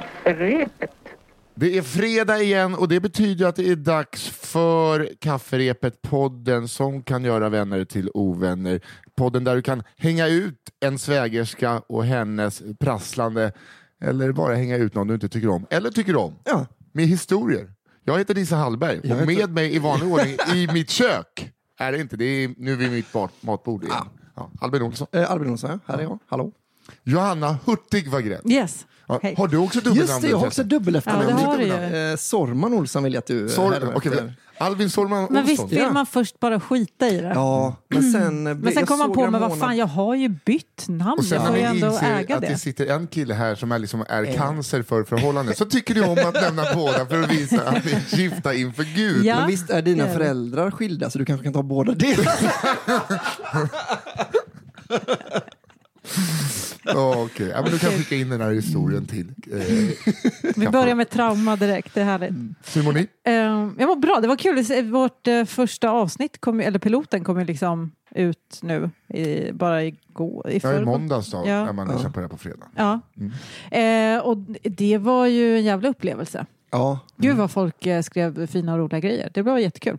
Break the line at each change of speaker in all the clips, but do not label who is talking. kafferepet.
Det är fredag igen och det betyder att det är dags för Kafferepet-podden som kan göra vänner till ovänner. Podden där du kan hänga ut en svägerska och hennes prasslande eller bara hänga ut någon du inte tycker om, eller tycker om,
Ja.
med historier. Jag heter Nisse Hallberg och
heter-
med mig i vanlig ordning i mitt kök är det inte, det är nu vid mitt bar- matbord igen. Ja. Albin Olsson.
Eh, Albin Olsson, här är jag. Hallå.
Johanna Hurtig Wagrell.
Yes.
Ja,
Hej.
har du också dubbelnamn?
Just det, jag har också dubbel efternamn.
Ja, det har du ju.
Eh, Sorman Olsson vill jag att du... eh,
Sorry,
härmar
okej,
efter.
Alvin Sorman Olsson.
Men visst vill
Ja.
man först bara skita i det?
Ja, men sen... eh,
Mm. Men sen
jag
kom man
såg
på,
några
men vad
månader-
fan, jag har ju bytt namn.
Och sen
jag
när
får ju
vi
ändå
inser
äga
att det.
det. Eh.
sitter en kille här som är, liksom, är cancer för förhållanden så tycker du om att nämna båda för att visa att ni är gifta inför Gud.
Ja.
Men visst är dina
det är det.
föräldrar skilda så du kanske kan ta båda delarna?
Ja, okej. ja, men du kan skicka in den här historien till eh,
Vi börjar med trauma direkt, det är härligt.
Mm. Simoni.
Ehm, jag mår bra, det var kul. Vårt eh, första avsnitt, kom, ju- eller piloten, kom ju liksom ut nu, i, bara igår.
Ja,
I
i
förrgår.
måndags då,
Ja.
när man lyssnar på det här på fredag. Mm.
Ja. Eh, och det var ju en jävla upplevelse.
Ja,
Mm.
Gud vad folk eh, skrev fina och roliga grejer. Det var jättekul.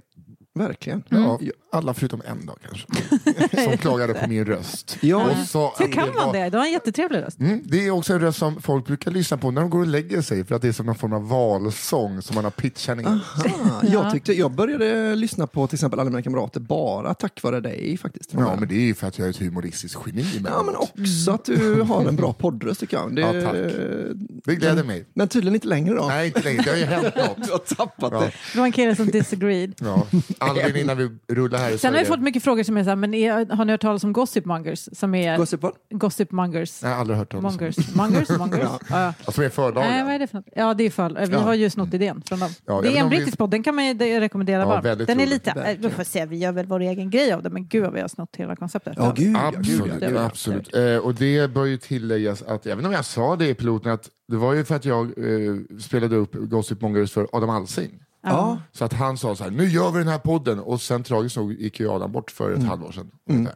verkligen.
Mm.
Mm. Ja, alla förutom en dag kanske, som klagade på min röst.
Ja.
Och sa
Hur
att
kan man
var-
det? Det var en jättetrevlig röst.
Mm, det är också en röst som folk brukar lyssna på när de går och lägger sig för att det är som någon form av valsång som man har pitchat ner.
Ah, jag, tyckte, jag började lyssna på till exempel Alla mina kamrater bara tack vare dig faktiskt.
Ja, men det är ju för att jag är ett humoristiskt geni.
Ja, men
emellanåt.
också att du har en bra poddröst tycker jag. Det,
Ja, tack. Det gläder mig.
Men tydligen inte längre då.
Nej, inte längre. Det har ju hänt något.
Du har tappat
Ja.
det.
Det var en kille som disagreed.
Ja. Albin, innan vi rullar här.
Sen har vi fått mycket frågor som är så här, men är, har ni hört talas om gossipmongers? Som är
Gossipon?
gossipmongers?
Nej, jag har aldrig hört om det.
Mongers? Mongers? Mongers? ja. Ja.
Alltså, med
Nej, vad
förlagen.
är det för något? Ja, det är fall. Vi
Ja.
har ju snott idén från dem.
Ja, jag
det
vet
är en
om vi-
brittisk podd, den kan man ju det- rekommendera
Ja,
varmt.
väldigt
Den är
rolig.
lite, eh, vi får se, vi gör väl vår egen grej av det, men gud vad vi har snott hela konceptet.
Ja, gud ja. Gud, ja,
Absolut.
gud, ja.
absolut. Eh, och det bör ju tilläggas att, även om jag sa det i piloten, att det var ju för att jag eh, spelade upp Gossip Mongers för Adam Alsing.
Ja.
Så att han sa så här, nu gör vi den här podden. Och sen tragiskt nog gick ju Adam bort för ett halvår sedan. ungefär.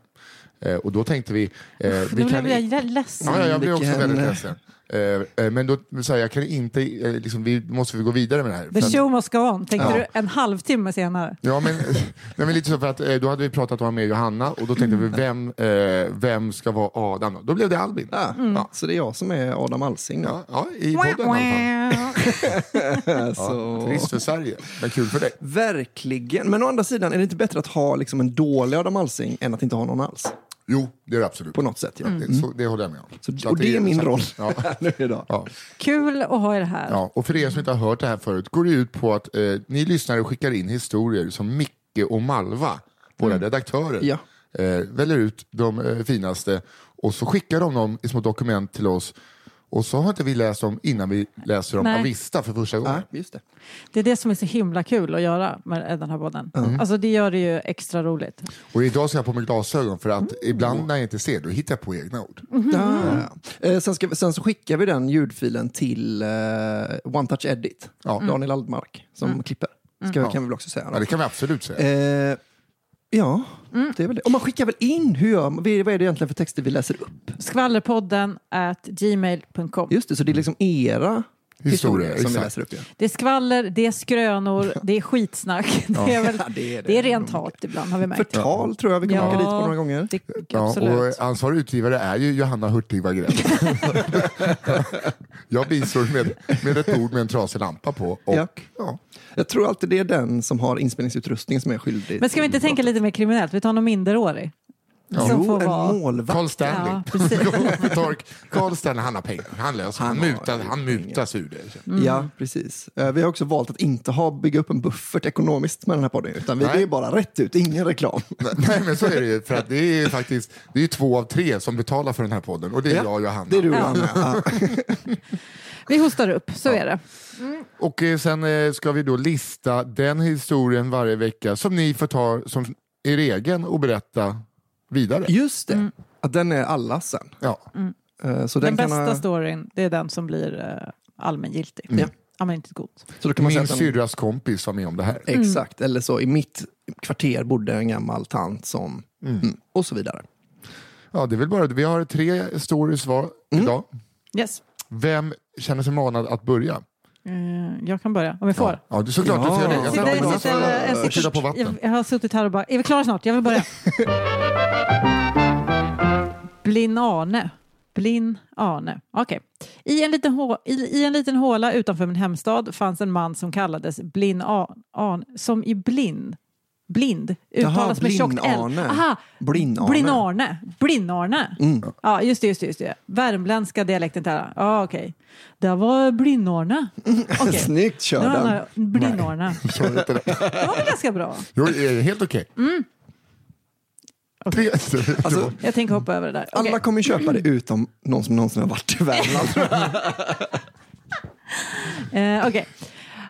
Eh, och då tänkte vi... Eh, vi
Nu blev jag jä- ledsen.
Ja, ja, jag blev också
Vilken-
väldigt ledsen. Eh, eh, Men då så här, jag kan inte, eh, liksom, vi måste vi gå vidare med det här.
The
För att-
show must go on, tänkte
Ja.
du en halvtimme senare.
Ja, men, nej, men lite så för att eh, då hade vi pratat om med Johanna och då
Mm.
tänkte vi vem, eh, vem ska vara Adam? Då, då blev det Albin.
Ah,
Ja.
Så det är jag som är Adam Alsing. då.
Ja, ja, i podden i alla fall. Ja,
Så...
trist för Sverige, men kul för dig.
Verkligen. Men å andra sidan, är det inte bättre att ha liksom, en dålig Adam Alsing än att inte ha någon alls?
Jo, det är det absolut.
På något sätt. Ja.
Det, så, det håller jag med om.
Mm. Så,
Så att
och det är min roll
Ja.
nu idag.
Ja.
Kul att ha er här.
Ja, och för er som inte har hört det här förut går det ut på att eh, ni lyssnare skickar in historier som Micke och Malva, våra redaktörer,
Mm. Ja.
eh, väljer ut de eh, finaste och så skickar de dem i små dokument till oss och så har inte vi läst dem innan vi läser dem
Nej.
av Vista för första gången.
Ja, just det.
Det är det som är så himla kul att göra med den här podden.
Mm.
Alltså det gör det ju extra roligt.
Och idag ska jag på mig glasögon för
Mm.
att ibland när jag inte ser då hittar jag på egna ord.
Ah. Eh, sen, ska, vi- sen så skickar vi den ljudfilen till eh, One Touch Edit, Daniel Aldmark, som klipper. Ska, Kan vi väl också säga. då.
Ja, det kan vi absolut säga.
Eh, ja, det är väl det. Och man skickar väl in, hur gör man, vad är vad är det egentligen för texter vi läser upp?
Skvallerpodden at gmail.com.
Just det, så det är liksom era historier, som vi
exakt.
läser upp. Ja.
Det är skvaller, det är skrönor, det är skitsnack. Det är, väl,
Ja, det
det
är
är,
det.
rent hat ibland har vi märkt.
Förtal tror jag vi kommer åka dit på några gånger.
Det,
Ja,
absolut.
och ansvarig utgivare är ju Johanna Hurtig Wagrell. jag bistår med, med ett ord med en trasig lampa på. Och,
Ja.
ja.
Jag tror alltid det är den som har inspelningsutrustningen som är skyldig.
Men ska vi inte tänka lite mer kriminellt? Vi tar någon minderårig. Som
Jo,
får
en
vara...
målvakt.
Carl Stanley.
Ja, precis.
Tork. Carl Stanley, han har pengar. Han löser
Han
han,
har
mutas, han mutas ur det.
Ja, precis. Eh, Vi har också valt att inte ha, bygga upp en buffert ekonomiskt med den här podden. Utan vi
Nej.
det är bara rätt ut, ingen reklam.
Nej men så är det ju. För att det är ju faktiskt det är ju två av tre som betalar för den här podden. Och det är jag och Johanna.
Det är du och Anna. Ja.
Vi hostar upp, så är det.
Och eh, sen eh, ska vi då lista den historien varje vecka som ni får ta som er egen och berätta vidare.
Just det, att den är alla sen.
Ja.
Eh, Så
Mm. Den
den, kan
bästa
ha...
storyn, det är den som blir eh, allmängiltig.
Ja.
Allmängiltigt god.
Så då kan man säga
Min Mm.
att den...
syrras kompis var med om det här.
Exakt, eller så i mitt kvarter bodde en gammal tant som... Mm. Och så vidare. Mm.
Ja, det är väl bara Vi har tre stories var idag.
Yes.
Vem känner sig manad att börja?
Eh, Jag kan börja, om jag får.
Ja, du såklart
Ja.
du får göra det.
Jag
Jag,
Jag
sitter-
tänkte
jag
bara
sitter-
svara-
jag sitter-
kyla på
jag,
vatten.
jag har suttit här och bara, är vi klara snart? Jag vill börja. Blin Arne. Blin Arne. Okej. I, en liten hå- i, I en liten håla utanför min hemstad fanns en man som kallades Blin Arne, som i blind. Blind uttalas med tjockt L.
Blin-Arne.
Aha,
Blin-Arne. Mm.
Blin-Arne. Blin-Arne. Ja, just det, just det, just det. Värmländska dialekten där. Ja, okej. Det var Blin-Arne. Okej.
Snyggt kör
Det
den.
var en Blin-Arne. Det var väl ganska bra?
Jo, eh, helt okej.
Mm.
Tre-
Alltså,
Jag tänker hoppa över det där. Okej.
alla kommer köpa det utom någon som någonsin har varit i Värmland.
Eh, okej.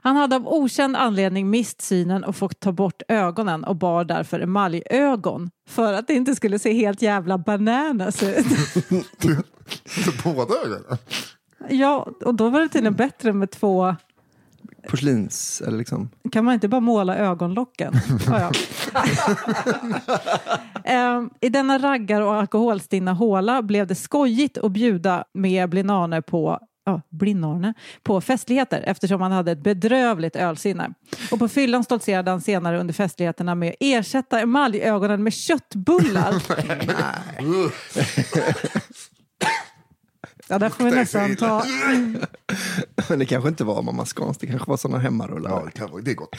Han hade av okänd anledning mist synen och fått ta bort ögonen och bar därför emaljögon för att det inte skulle se helt jävla bananas ut.
Så Båda ögonen?
ja, och då var det tydligen bättre med två.
Porslins, eller liksom.
Kan man inte bara måla ögonlocken? Ah, ja. eh, I denna raggar och alkoholstinna håla blev det skojigt att bjuda med Blinarne på Ja, Blinarne, på festligheter eftersom han hade ett bedrövligt ölsinne. Och på fyllan stoltserade han senare under festligheterna med att ersätta emaljögonen med köttbullar. ja, där får vi nästan ta...
Men det kanske inte var mamma Scans, det kanske var sådana hemmarullar.
Ja, det, kan vara, det är gott.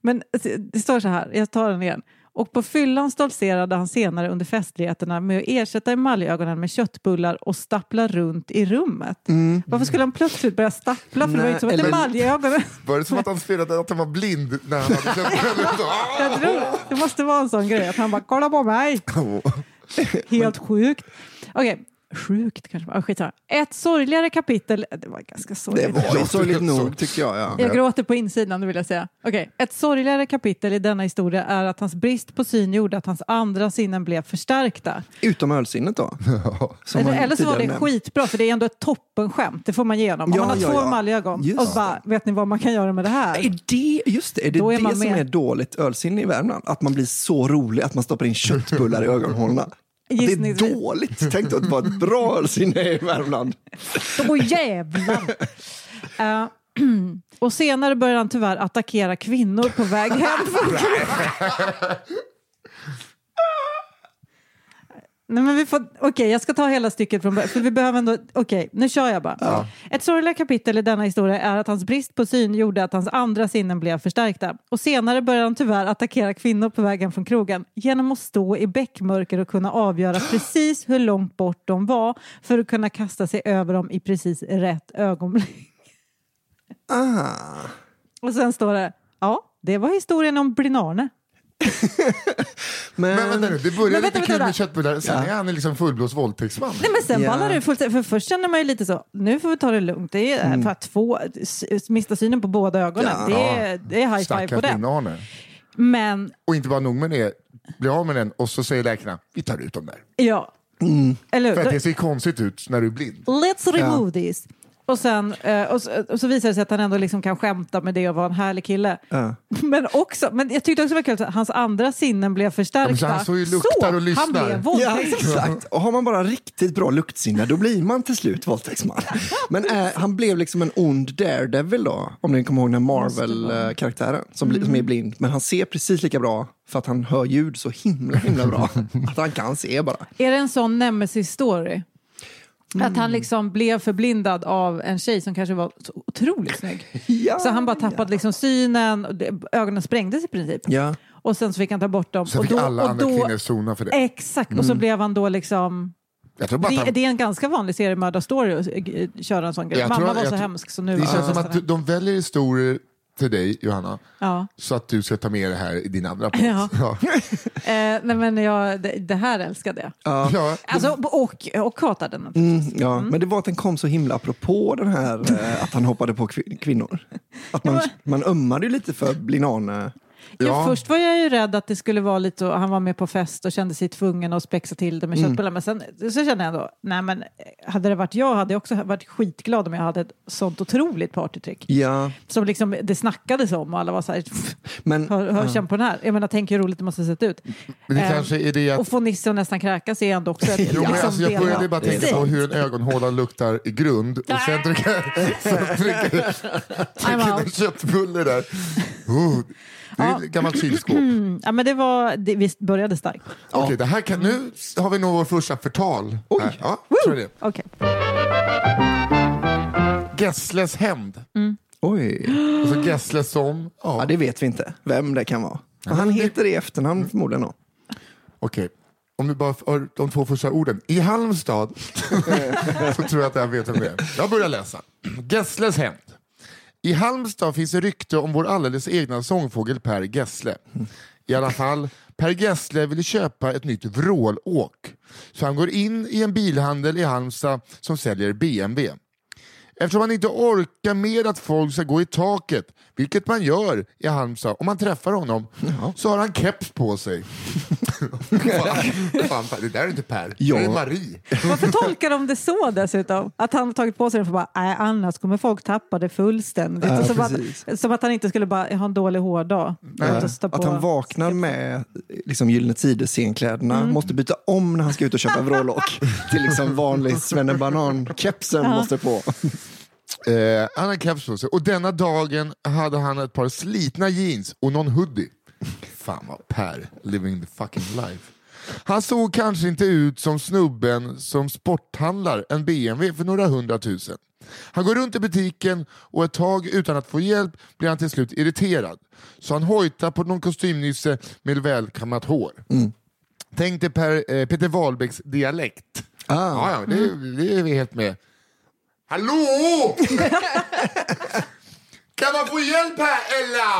Men alltså, det står så här, jag tar den igen. Och på fyllan stoltserade han senare under festligheterna med att ersätta emaljögonen med köttbullar och stappla runt i rummet. Varför skulle han plötsligt börja stappla? För det var
Mm, Nej,
ju inte som att
eller-
emaljögonen...
Var det som att han spelade att han var blind när han hade köpt den?
Jag tror det måste vara en sån grej att han bara “kolla på mig”. Helt sjukt. Okej, sjukt kanske. Ah, skitsamma. Ett sorgligare kapitel... Det var ganska
Det
sorgligt.
var ju
Ja,
sorgligt
det-
nog, tycker jag. Ja.
Jag gråter på insidan, det vill jag säga. Okej, Ett sorgligare kapitel i denna historia är att hans brist på syn gjorde att hans andra sinnen blev förstärkta.
Utom ölsinnet då. Som
Eller,
man
eller så var det
tidigare nämnt.
skitbra, för det är ändå ett toppenskämt. Det får man igenom. Om
Ja,
man har
ja,
två
ja.
emaljögon
Just
och bara, vet ni vad man kan göra med det här?
Är det, just det, är det,
Då är
det
man
som
med.
är dåligt ölsinne i Värmland? Att man blir så rolig att man stoppar in köttbullar i ögonhålorna? Att Det är
Gissningsvis.
dåligt. Tänk dig att vara ett bra ölsinne i Värmland.
Då jävlar! Eh, och senare började han tyvärr attackera kvinnor på väg hem. från- Nej, men vi får, okej, jag ska ta hela stycket från början. för Vi behöver ändå, okej, nu kör jag bara. Ett sorgligt kapitel i denna historia är att hans brist på syn gjorde att hans andra sinnen blev förstärkta. Och senare började han tyvärr attackera kvinnor på vägen från krogen genom att stå i bäckmörker och kunna avgöra precis hur långt bort de var för att kunna kasta sig över dem i precis rätt ögonblick.
Ah.
Och sen står det, ja, det var historien om Blinarne.
Men
Men,
vänta nu, det började
Men vänta,
lite kul
vänta.
med köttbullar, sen är han liksom fullblåst våldtäktsman.
Nej, men sen
Ja.
ballar det fullt, för först känner man ju lite så, nu får vi ta det lugnt. Det är för att två, s- mista synen på båda ögonen.
Ja.
Det, är, det är high five på
Stackars
det.
Arne.
Men
Och inte bara nog med det, blir av med den och så säger läkarna, vi tar ut dem där.
ja, eller
För att det
hur?
ser konstigt ut när du är blind.
Let's remove this. Och, sen, eh, och, så, och så visar det sig att han ändå liksom kan skämta med det och vara en härlig kille. Men också, men jag tyckte också det var kul att hans andra sinnen blev förstärkta.
men så han såg ju luktar och lyssnar.
han blev
Ja,
våldtäktsman.
exakt. Och har man bara riktigt bra luktsinne, då blir man till slut våldtäktsman. Men eh, han blev liksom en ond daredevil då, om ni kommer ihåg den Marvel-karaktären som, bli- som är blind. Men han ser precis lika bra för att han hör ljud så himla, himla bra. Att han kan se bara.
Är det en sån nemesis-story? Att
Mm.
han liksom blev förblindad av en tjej som kanske var så otroligt snygg.
Ja,
så han bara tappade liksom synen, och det, ögonen sprängdes i princip.
Ja.
Och sen så fick han ta bort dem.
Så
och
fick
då-
alla
och
andra
då-
kvinnor zona för det.
Exakt, och så blev han då liksom...
Jag tror bara att
Det,
han,
det är en ganska vanlig seriemördarstory att eh, köra en sån grej.
Jag
Mamma
tror-
var
jag
så
tror-
hemsk så nu...
det
var
känns som
sådär.
att de väljer historier till dig, Johanna,
Ja.
så att du ska ta med det här i din andra podd.
Ja.
Ja.
Eh, nej men jag, det, det här älskade jag.
Ja.
Alltså, och, och hatade den.
Mm, ja. Men det var att den kom så himla apropå den här eh, att han hoppade på kvin- kvinnor. Att man, man ömmade ju lite för Blinane.
Ja.
Ja.
först var jag ju rädd att det skulle vara lite, och han var med på fest och kände sig tvungen att spexa till det med
Mm.
köttbullar. Men sen så kände jag ändå, nej men eh, hade det varit jag hade jag också varit skitglad om jag hade ett sånt otroligt partytrick.
Ja,
Som liksom det snackades om och alla var så här,
men
hör, hör känn på den här. Jag menar, tänk hur roligt det måste ha sett ut.
Men det
Ehm,
kanske är det
Och
att...
få Nisse att nästan kräkas är ändå också ett
Jo, men
liksom
alltså, jag
del-
började bara tänka på
Precis.
hur en ögonhåla luktar i grund och sen trycker sen trycker-
I'm
trycker en
out.
köttbulle där. Oh, det är ett gammalt kylskåp.
Ja, men det var, det, vi började starkt.
Okej, det här kan, nu har vi nog vår första förtal. Oj. Ja, tror jag det.
Okej.
Gessles hämnd.
oj.
Alltså
Mm.
Gessle som... Ja.
Ja, det vet vi inte vem det kan vara. Och han heter det i efternamn förmodligen. då.
Okej, om du bara hör de två första orden. I Halmstad så tror jag att jag vet vem det är. Jag börjar läsa. Gessles hämnd. I Halmstad finns det rykte om vår alldeles egna sångfågel Per Gessle. I alla fall, Per Gessle ville köpa ett nytt vrålåk. Så han går in i en bilhandel i Halmstad som säljer BMW. Eftersom han inte orkar med att folk ska gå i taket, vilket man gör i Halmstad om man träffar honom, så har han keps på sig. fan, fan, det där är inte Per,
Ja.
det är Marie.
Varför tolkar de det så dessutom? Att han har tagit på sig den för bara, nej annars kommer folk tappa det fullständigt.
Ja,
som,
precis.
att, som att han inte skulle bara, jag har en dålig hårdag. Låt oss ta
Att
på-
han vaknar med liksom, Gyllene Tiders scenkläderna,
Mm.
måste byta om när han ska ut och köpa vrålåk till liksom, vanlig svennebanan-kepsen måste på.
Eh, han har keps på sig och denna dagen hade han ett par slitna jeans och någon hoodie. Fan vad Per, living the fucking life. Han såg kanske inte ut som snubben som sporthandlar en BMW för några hundratusen. Han går runt i butiken och ett tag utan att få hjälp blir han till slut irriterad. Så han hojtar på någon kostymnisse med välkammat hår. Tänk dig per, eh, Peter Wahlbecks dialekt.
Ah,
Ja, ja, det, det är vi helt med. Hallå! kan man få hjälp här,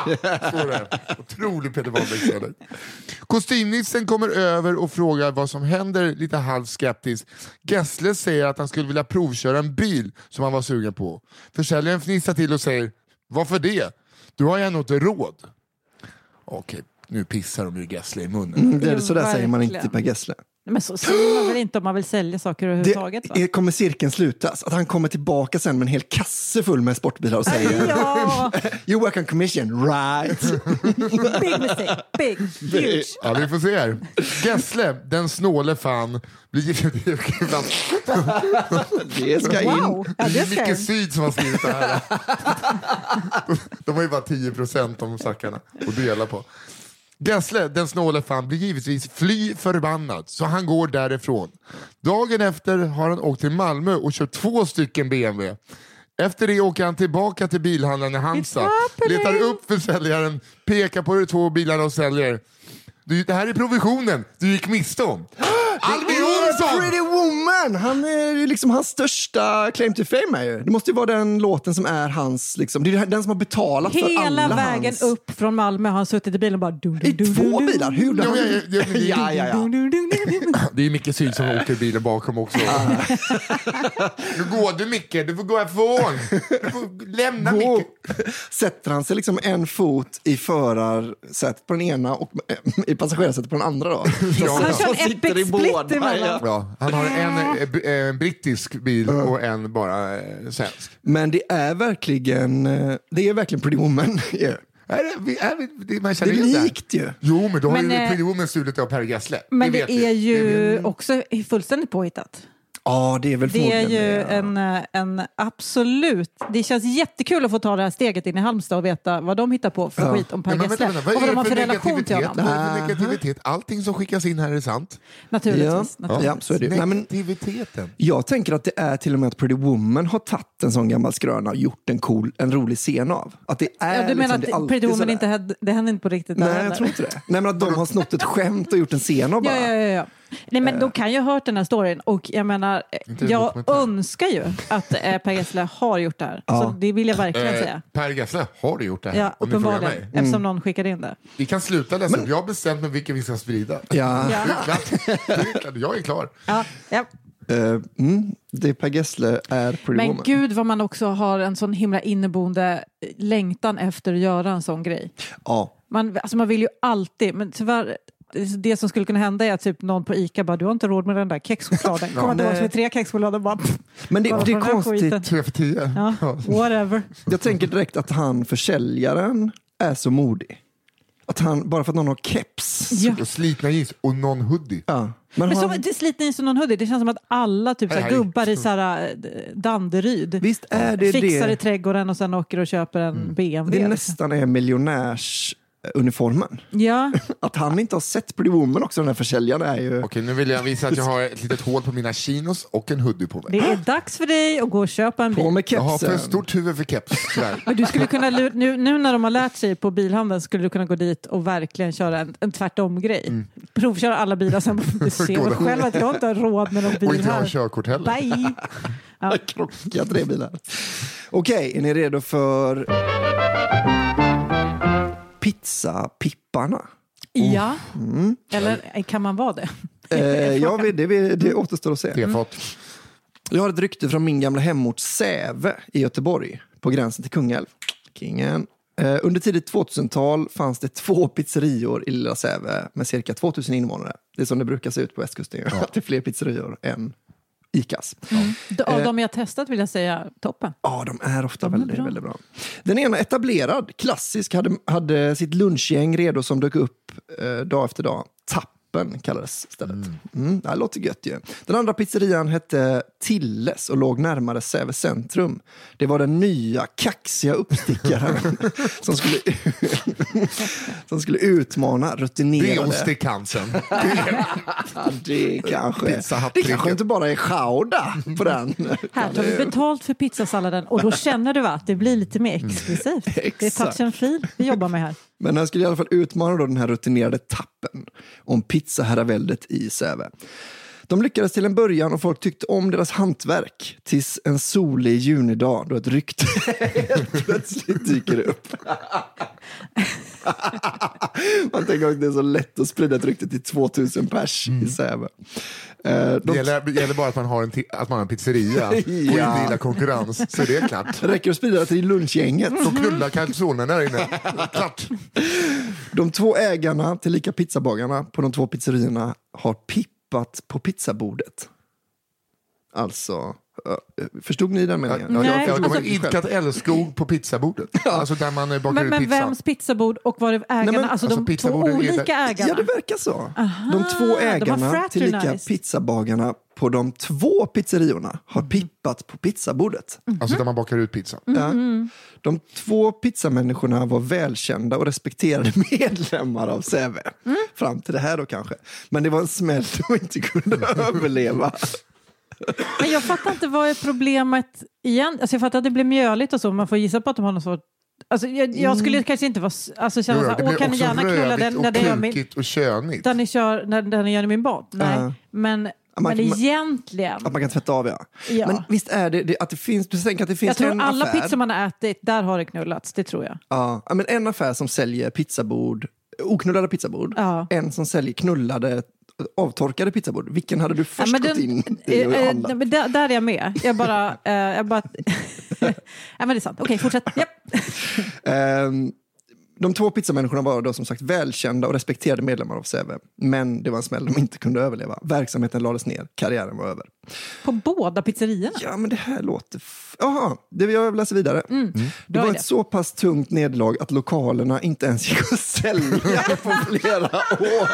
Ella? Står det. Otrolig Peter Wahlbeck. Kostymnissen kommer över och frågar vad som händer lite halvt skeptiskt. Gessle säger att han skulle vilja provköra en bil som han var sugen på. Försäljaren fnissar till och säger, varför det? Du har ju ändå inte råd. Okej, nu pissar de ju Gessle i munnen.
det är, så där säger man inte
Verkligen.
till Per Gessle.
Nej, Men så säger man väl inte om man vill sälja saker överhuvudtaget? va?
Det är, kommer cirkeln slutas. Att han kommer tillbaka sen med en hel kasse full med sportbilar och säger
Ja,
You work on commission, right?
big mistake, big, huge.
Ja, vi får se här. Gessle, den snåle fan, blir...
Det ska in.
Wow, ja,
Det
det
är Micke
ser
Syd som har skrivit det här. De har ju bara 10 procent de stackarna att dela på. Gessle, den snåle fan, blir givetvis fly förbannad så han går därifrån. Dagen efter har han åkt till Malmö och köpt två stycken BMW. Efter det åker han tillbaka till bilhandlaren i Halmstad,
It's happening.
letar upp försäljaren, pekar på de två bilarna och säljer. Du, det här är provisionen du gick miste om. Albin Olsson!
Pretty Woman! Han är ju liksom hans största claim to fame. Är ju. Det måste ju vara den låten som är hans, liksom, det är den som har betalat för alla
Hela vägen
hans...
upp från Malmö har han suttit i bilen och bara... Dun, dun,
I
dun,
två
dun,
bilar? Hur?
Ja, ja, ja, ja,
ja, ja, ja.
Dun, dun, dun, dun, dun.
Det är Micke Syd som åker bilen bakom också. nu går du Micke, du får gå härifrån. Du får lämna
Då
Micke.
sätter han sig liksom en fot i förarsätet på den ena och eh, i passagerarsätet på den andra. Då.
Ja.
Han kör
som
en
sitter
epic
i båda,
split emellan.
ja.
Ja, han har en, eh, b- eh, brittisk bil och en bara eh, svensk.
Men det är verkligen eh, det är verkligen Pretty Woman. ju.
Är det, vi- är vi, det, man
Det
känner
är
igen det här.
likt ju.
Jo, men då har
Men,
ju
eh,
Pretty Woman stulit av Per Gessle.
Men
Det
det,
vet vi.
är ju
Det-
också fullständigt påhittat.
Ja, det är väl
Det är
förmodligen
ju
det, ja.
en, eh, en absolut... Det känns jättekul att få ta det här steget in i Halmstad och veta vad de hittar på för skit om Per
Men
Gessle.
vänta,
Och
vänta, vad
vad
är
de
det
har
för
för relation till
negativitet?
honom.
Vad är det för negativitet? Allting som skickas in här är sant.
Ja,
Naturligtvis.
ja,
naturligtvis.
så är det. ju. Nej, men
Negativiteten.
Jag tänker att det är till och med att Pretty Woman har tagit en sån gammal skröna och gjort en cool, en rolig scen av. Att det är
Ja, du menar
liksom, det är
att
alltid
Pretty Woman
sådär.
inte hade, det hände inte på riktigt där
Nej,
heller.
jag tror inte det. Nej, men att de har snott ett skämt och gjort en scen av
Ja,
bara. Eh.
ja, ja, ja. Nej, men de kan ju ha hört den här storyn och jag menar, eh,
en
jag
dokumentär.
önskar ju att eh, Per Gessle har gjort det här. Så det vill jag verkligen
Eh,
säga.
per Gessle har gjort det här,
Ja,
om ni frågar mig.
uppenbarligen.
Mm.
Eftersom någon skickade in det.
Vi kan sluta läsa upp. Jag har bestämt mig vilken vi ska sprida.
Ja,
Ja.
Det är klart. Det är klart. Jag är klar.
Ja, ja.
eh, mm, det är Per Gessle är Pretty
Men
Woman.
gud vad man också har en sån himla inneboende längtan efter att göra en sån grej.
Ja.
Man, alltså man vill ju alltid, men tyvärr det som skulle kunna hända är att typ någon på ICA bara, du har inte råd med den där kexchokladen. Kommer inte
nej.
ihåg med tre kexchoklader bara, pff,
Men det,
Kolla
det
på
är
den här
konstigt.
skiten.
Tre för tio.
ja, whatever.
Jag tänker direkt att han försäljaren är så modig. Att han, bara för att någon har keps.
Ja.
Och slitna jeans och någon hoodie.
Ja. Men
Men
han,
som, det sliter in som någon hoodie. Det känns som att alla typ, såhär,
Nej.
gubbar i såhär, eh, Danderyd
visst är det
fixar i
det? Mm.
trädgården och sen åker och köper en BMW.
Det nästan är miljonärsuniformen.
Ja,
Att han inte har sett Pretty Woman också, den här försäljaren, är ju...
Okej, nu vill jag visa att jag har ett litet hål på mina chinos och en hoodie på mig.
det är dags för dig att gå och köpa en
På
bil.
med
Jag har
kepsen.
för stort huvud för keps. tyvärr.
Men du skulle kunna, lu- nu, nu när de har lärt sig på bilhandeln skulle du kunna gå dit och verkligen köra en, en tvärtom-grej. Provköra alla bilar sen du ser väl själv att jag inte har råd med någon
Och
bil
inte har
här.
körkort heller.
Bye!
Krockiga tre bilar. Okej, är ni redo för pizzapipparna?
Ja, eller kan man vara det?
Eh, ja, vi- det, vi- det återstår att se.
Det har fått.
Mm.
Jag har ett rykte från min gamla hemort Säve i Göteborg, på gränsen till Kungälv. Kingen. Eh, under tidigt 2000-tal fanns det två pizzerior i lilla Säve med cirka 2000 invånare. Det är som det brukar se ut på västkusten, ju, att det är fler pizzerior än Icas.
D- Av de jag testat vill jag säga toppen.
Ja, de är ofta väldigt, väldigt Mm, bra. Den ena etablerad, klassisk, hade, hade sitt lunchgäng redo som dök upp eh, dag efter dag. Tappen kallades stället. Mm, det här låter gött ju. Den andra pizzerian hette Tilles och låg närmare Säve centrum. Det var den nya kaxiga uppstickaren som, skulle, som skulle utmana
Det
rutinerade...
är ost i cancern.
Ja, det kanske,
Pizza Hut
det
trycket.
kanske inte bara är chowda på den.
Här tar vi betalt för pizzasalladen och då känner du att det blir lite mer exklusivt. Det är touch
Exakt.
and feel vi jobbar med här.
Men han skulle i alla fall utmana då den här rutinerade tappen om pizzaherraväldet i Säve. De lyckades till en början och folk tyckte om deras hantverk tills en solig junidag då ett rykte helt plötsligt dyker upp. Man tänker att det är så lätt att sprida ett rykte till 2000 pers i Säve. Eh,
Mm. Det
De
gäller, det gäller bara att man har en, ti- att man har en pizzeria och inte
Ja.
gillar konkurrens, så det är klart.
räcker att sprida det till lunchgänget.
Så knullar calzonen där inne. Klart.
De två ägarna, tillika pizzabagarna, på de två pizzerierna har pippat på pizzabordet. Alltså, ö, förstod ni den meningen?
Ja,
Nej,
jag, jag, de har
alltså-
idkat älskog på pizzabordet. Alltså där man eh, bakar
Men,
ut
men
pizzan.
vems pizzabord och var är ägarna?
men,
alltså,
alltså, de två
pizzabordet är
olika
där-
ägarna?
Ja, det verkar så. de två
de har
ägarna, tillika
fraternized.
pizzabagarna, på de två pizzeriorna har pippat på pizzabordet.
Mhm.
Alltså där man bakar ut pizzan.
Mm-hmm.
Ja. De två pizzamänniskorna var välkända och respekterade medlemmar av Säve.
Mm.
Fram till det här då kanske. Men det var en smäll de inte kunde överleva.
Men jag fattar inte vad är problemet igen. Alltså jag fattar att det blir mjöligt och så, men man får gissa på att de har något svårt. Alltså jag,
Mm.
jag skulle kanske inte vara, s- alltså känna
Jo,
så
jo,
här,
det
åh
blir
kan ni
också
gärna knulla den
rödvitt
när
och
det gör min,
punkigt och königt.
där ni kör, när, när ni gör i min bad? Nej,
Ja.
men, men
man kan-
egentligen.
Att man kan tvätta av, ja.
Ja.
Men visst är det, det att det finns, du tänker att det finns
jag tror
en
alla
affär.
pizzor man har ätit, där har det knullats, det tror jag.
Ja, ja, men en affär som säljer pizzabord, oknullade pizzabord.
Ja.
En som säljer knullade, avtorkade pizzabord. Vilken hade du först
men
gått
den-
in i
eh,
och
eh,
handlat?
nej, men där, där är jag med. Jag bara... eh, jag bara nej, men det är sant. Okej, fortsätt. Japp.
Ehm, de två pizzamänniskorna var då som sagt välkända och respekterade medlemmar av Säve. Men det var en smäll de inte kunde överleva. Verksamheten lades ner, karriären var över.
På båda pizzerierna.
Ja, men det här låter... f- Jaha, det vill jag läser vidare. Mm. Det
Mm. Bra
var
idé.
ett så pass tungt nederlag att lokalerna inte ens gick att sälja på flera år.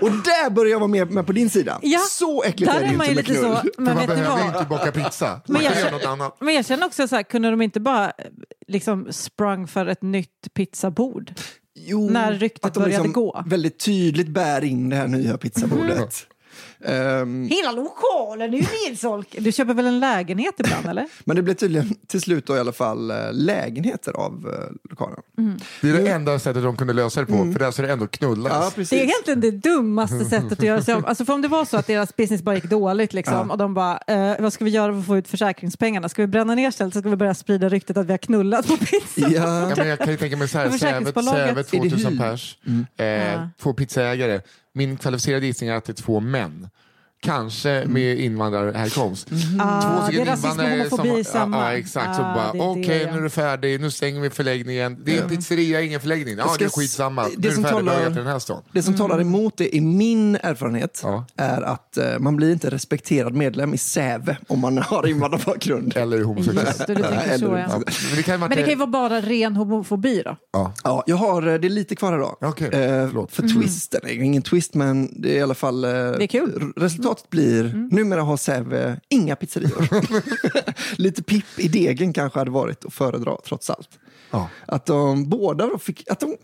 Och där börjar jag vara med, med på din sida.
Ja,
så äckligt
Där
är det
är
ju
man
inte med
ju lite
knull.
så,
Men
men
man
vet ni
behöver ju
vad?
inte baka pizza. Man
jag
kan göra
känner-
något annat.
Men jag känner också så här, kunde de inte bara eh, liksom sprang för ett nytt pizzabord?
Jo,
När ryktet
att de liksom
började gå.
väldigt tydligt bär in det här nya pizzabordet.
Mm.
Mm.
Ehm,
Hela lokalen är ju nedsolk. Du köper väl en lägenhet ibland eller?
men det blev tydligen till slut då i alla fall eh, lägenheter av eh, lokalen.
Det är det enda sättet de kunde lösa det på, för där så det ändå knullas.
Ja, precis.
Mm. Det är egentligen det dummaste sättet att göra sig om. Alltså för om det var så att deras business bara gick dåligt liksom, och de bara, eh, vad ska vi göra för att få ut försäkringspengarna? Ska vi bränna ner stället så ska vi börja sprida ryktet att vi har knullat på pizza?
Ja,
Ja,
men jag kan ju tänka mig så här,
Men
Säve
försäkringsbolaget-
Säve
Är det
2000
hyr?
pers, eh,
Mm. Ja.
två pizzaägare. Min kvalificerade gissning är att det är två män. kanske med invandrarhärkomst.
Mm.
Mm.
Ah,
Två
det är
stycken
rasism och
invandrare som...
homofobi i samma.
Ja, ja, exakt. så
Ah,
bara,
det är
okej
det, ja.
nu är du färdig, nu stänger vi förläggningen. Det är en pizzeria, ingen förläggning. Ja,
Jag
det
ska
är skitsamma.
s- det
nu är du
som
färdig,
talar-
talar... till den här stan.
Det som talar emot det i min erfarenhet
Mm. Ja.
är att eh, man blir inte respekterad medlem i Säve om man har invandrarbakgrund.
Eller är homosexuell.
Just det, du tänker
Eller-
så
Ja,
ja.
men det kan ju vara...
Men det kan ju vara bara ren homofobi då.
ja.
Ja, jag har, eh, det är lite kvar idag. Eh,
Okej, förlåt. Mm.
för twisten, är ingen twist men det är i alla fall... eh,
är kul. Mm.
Resultatet blir, numera har Säve inga pizzerior. lite pipp i degen kanske hade varit att föredra trots allt.
Ja.
Att de båda då fick... Att de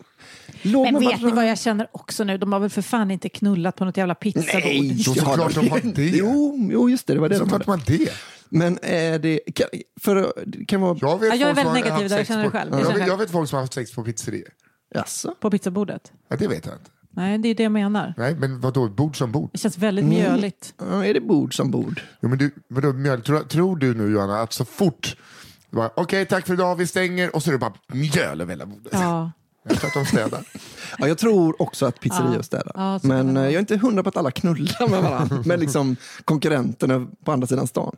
låg
Men
med
vet
varandra.
ni vad jag känner också nu? De har väl för fan inte knullat på något jävla pizzabord?
Nej,
Jo,
det har
såklart de har det.
Jo, jo, just det, det var det de hade.
Såklart man det.
Men är det, kan, för, det kan vara...
Jag vet
Ja,
folk som
jag är väldigt
har
negativ
haft
där, jag
sex
känner det
på-
själv. Jag
Jag
känner
vet-
det.
jag vet folk som har haft sex på pizzerior.
Jaså?
På pizzabordet?
Ja, det vet jag inte.
Nej, det är det jag menar.
Nej, men vadå, bord som bord?
Det känns väldigt mjöligt.
Ja, är det bord som bord?
Jo, men du, vadå, mjöl, tror, tror du nu Johanna att så fort, du bara, okej tack för idag, vi stänger och så är det bara mjöl över hela bordet.
Ja.
Jag tror att de städar.
Ja, jag tror också att pizzerior
Ja.
städar.
Ja, så kan det
men eh,
vara.
jag är inte hundra på att alla knullar med varandra. men liksom konkurrenterna på andra sidan stan.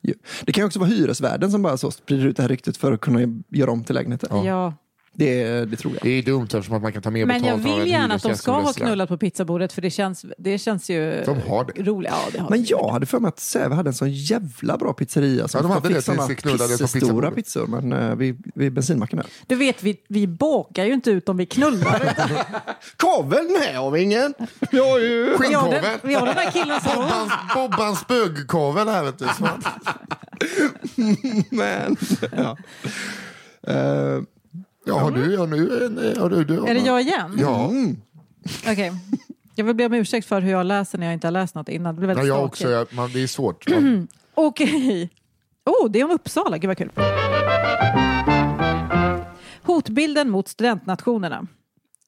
Jo. Det kan ju också vara hyresvärden som bara så sprider ut det här ryktet för att kunna göra om till lägenheter.
ja.
Det, det tror jag.
Det är dumt eftersom att man kan ta mer
Men jag
betalt av
vill
en
gärna att de
hyresgäst
ska
som
ha
restaurang.
knullat på pizzabordet för det känns, det känns ju
De har det.
roligt. Ja, det har
Men
de.
jag hade för mig att Säve hade en sån jävla bra pizzeria. Som
Ja, de hade
fick
det tills
såna
det knullades på
pissestora
pizzabordet.
pizzor men, eh, vid, vid bensinmacken där.
Du vet, vi, vi bakar ju inte ut om vi knullar.
Kaveln med av ingen! Jag har ju...
vi, har den,
Skinnkavel.
vi har den där killen som...
Bobbans, Bobbans bögkavel här vet du. som att-
Men, ja. Eh,
Ja, har du, har du, en- har du, du har
Är det
någon-
jag igen?
Ja,
mm.
Okej. Jag vill be om ursäkt för hur jag läser när jag inte har läst något innan. Det blir
ja
väldigt
jag
skakigt.
också. Jag, man, det är svårt.
Okej. Oh, det är om Uppsala. Gud vad kul. Hotbilden mot studentnationerna.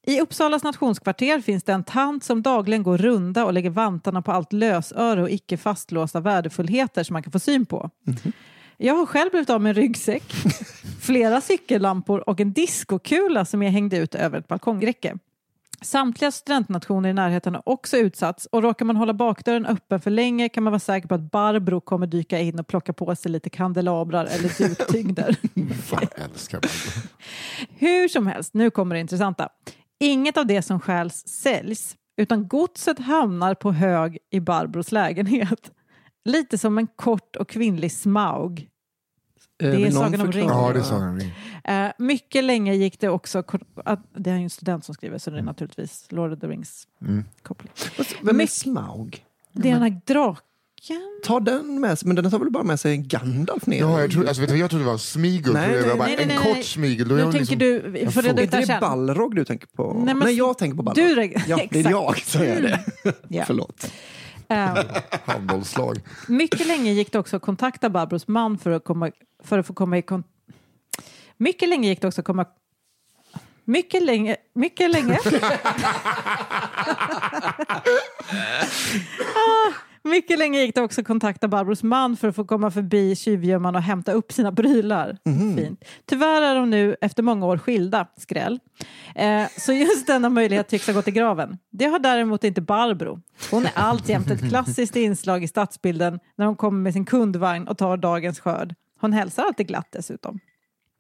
I Uppsalas nationskvarter finns det en tant som dagligen går runda och lägger vantarna på allt lösöre och icke fastlåsta värdefullheter som man kan få syn på. Jag har själv blivit av med en ryggsäck, flera cykellampor och en diskokula som jag hängde ut över ett balkongräcke. Samtliga studentnationer i närheten har också utsatts och råkar man hålla bakdörren öppen för länge kan man vara säker på att Barbro kommer dyka in och plocka på sig lite kandelabrar eller duktyngder.
Fan, jag älskar man.
Hur som helst, nu kommer det intressanta. Inget av det som stjäls säljs, utan godset hamnar på hög i Barbros lägenhet. Lite som en kort och kvinnlig smaug.
eh, vill någon
är Sagan om
förklara?
ringen.
Ja, det sa Mm. han.
Eh, mycket länge gick det också... kor- Att, det är ju en student som skriver, så det är naturligtvis Lord of the Rings-koppling.
Vem är
Mycket-
Smaug?
Det är den här draken.
Ta den med sig, men den tar väl bara med sig en Gandalf ner?
Ja, jag, trodde, alltså, vet du, vad, jag trodde det var smigel.
Nej,
Nej,
nej,
jag bara,
nej, nej,
en
nej, nej.
kort smigel. Då är
Nu
hon
tänker
liksom,
du... Vi får
Är
reda ut det här
det
sen.
Balrog du tänker på?
Nej,
Nej,
men-
jag tänker på Balrog.
Du reg-
ja, det är
exakt.
jag som gör det.
Ja.
Förlåt.
Eh,
handbollslag.
Mycket länge gick det också att kontakta Barbros man för att, komma, för att få komma i kontakt... Mycket länge gick det också att komma... Mycket länge... Mycket länge... Ah, Mycket länge gick det också att kontakta Barbros man för att få komma förbi tjuvgömman och hämta upp sina prylar. Fint. Tyvärr är de nu efter många år skilda, skräll. Eh, så just denna möjlighet tycks ha gått i graven. Det har däremot inte Barbro. Hon är alltjämt ett klassiskt inslag i stadsbilden när hon kommer med sin kundvagn och tar dagens skörd. Hon hälsar alltid glatt dessutom.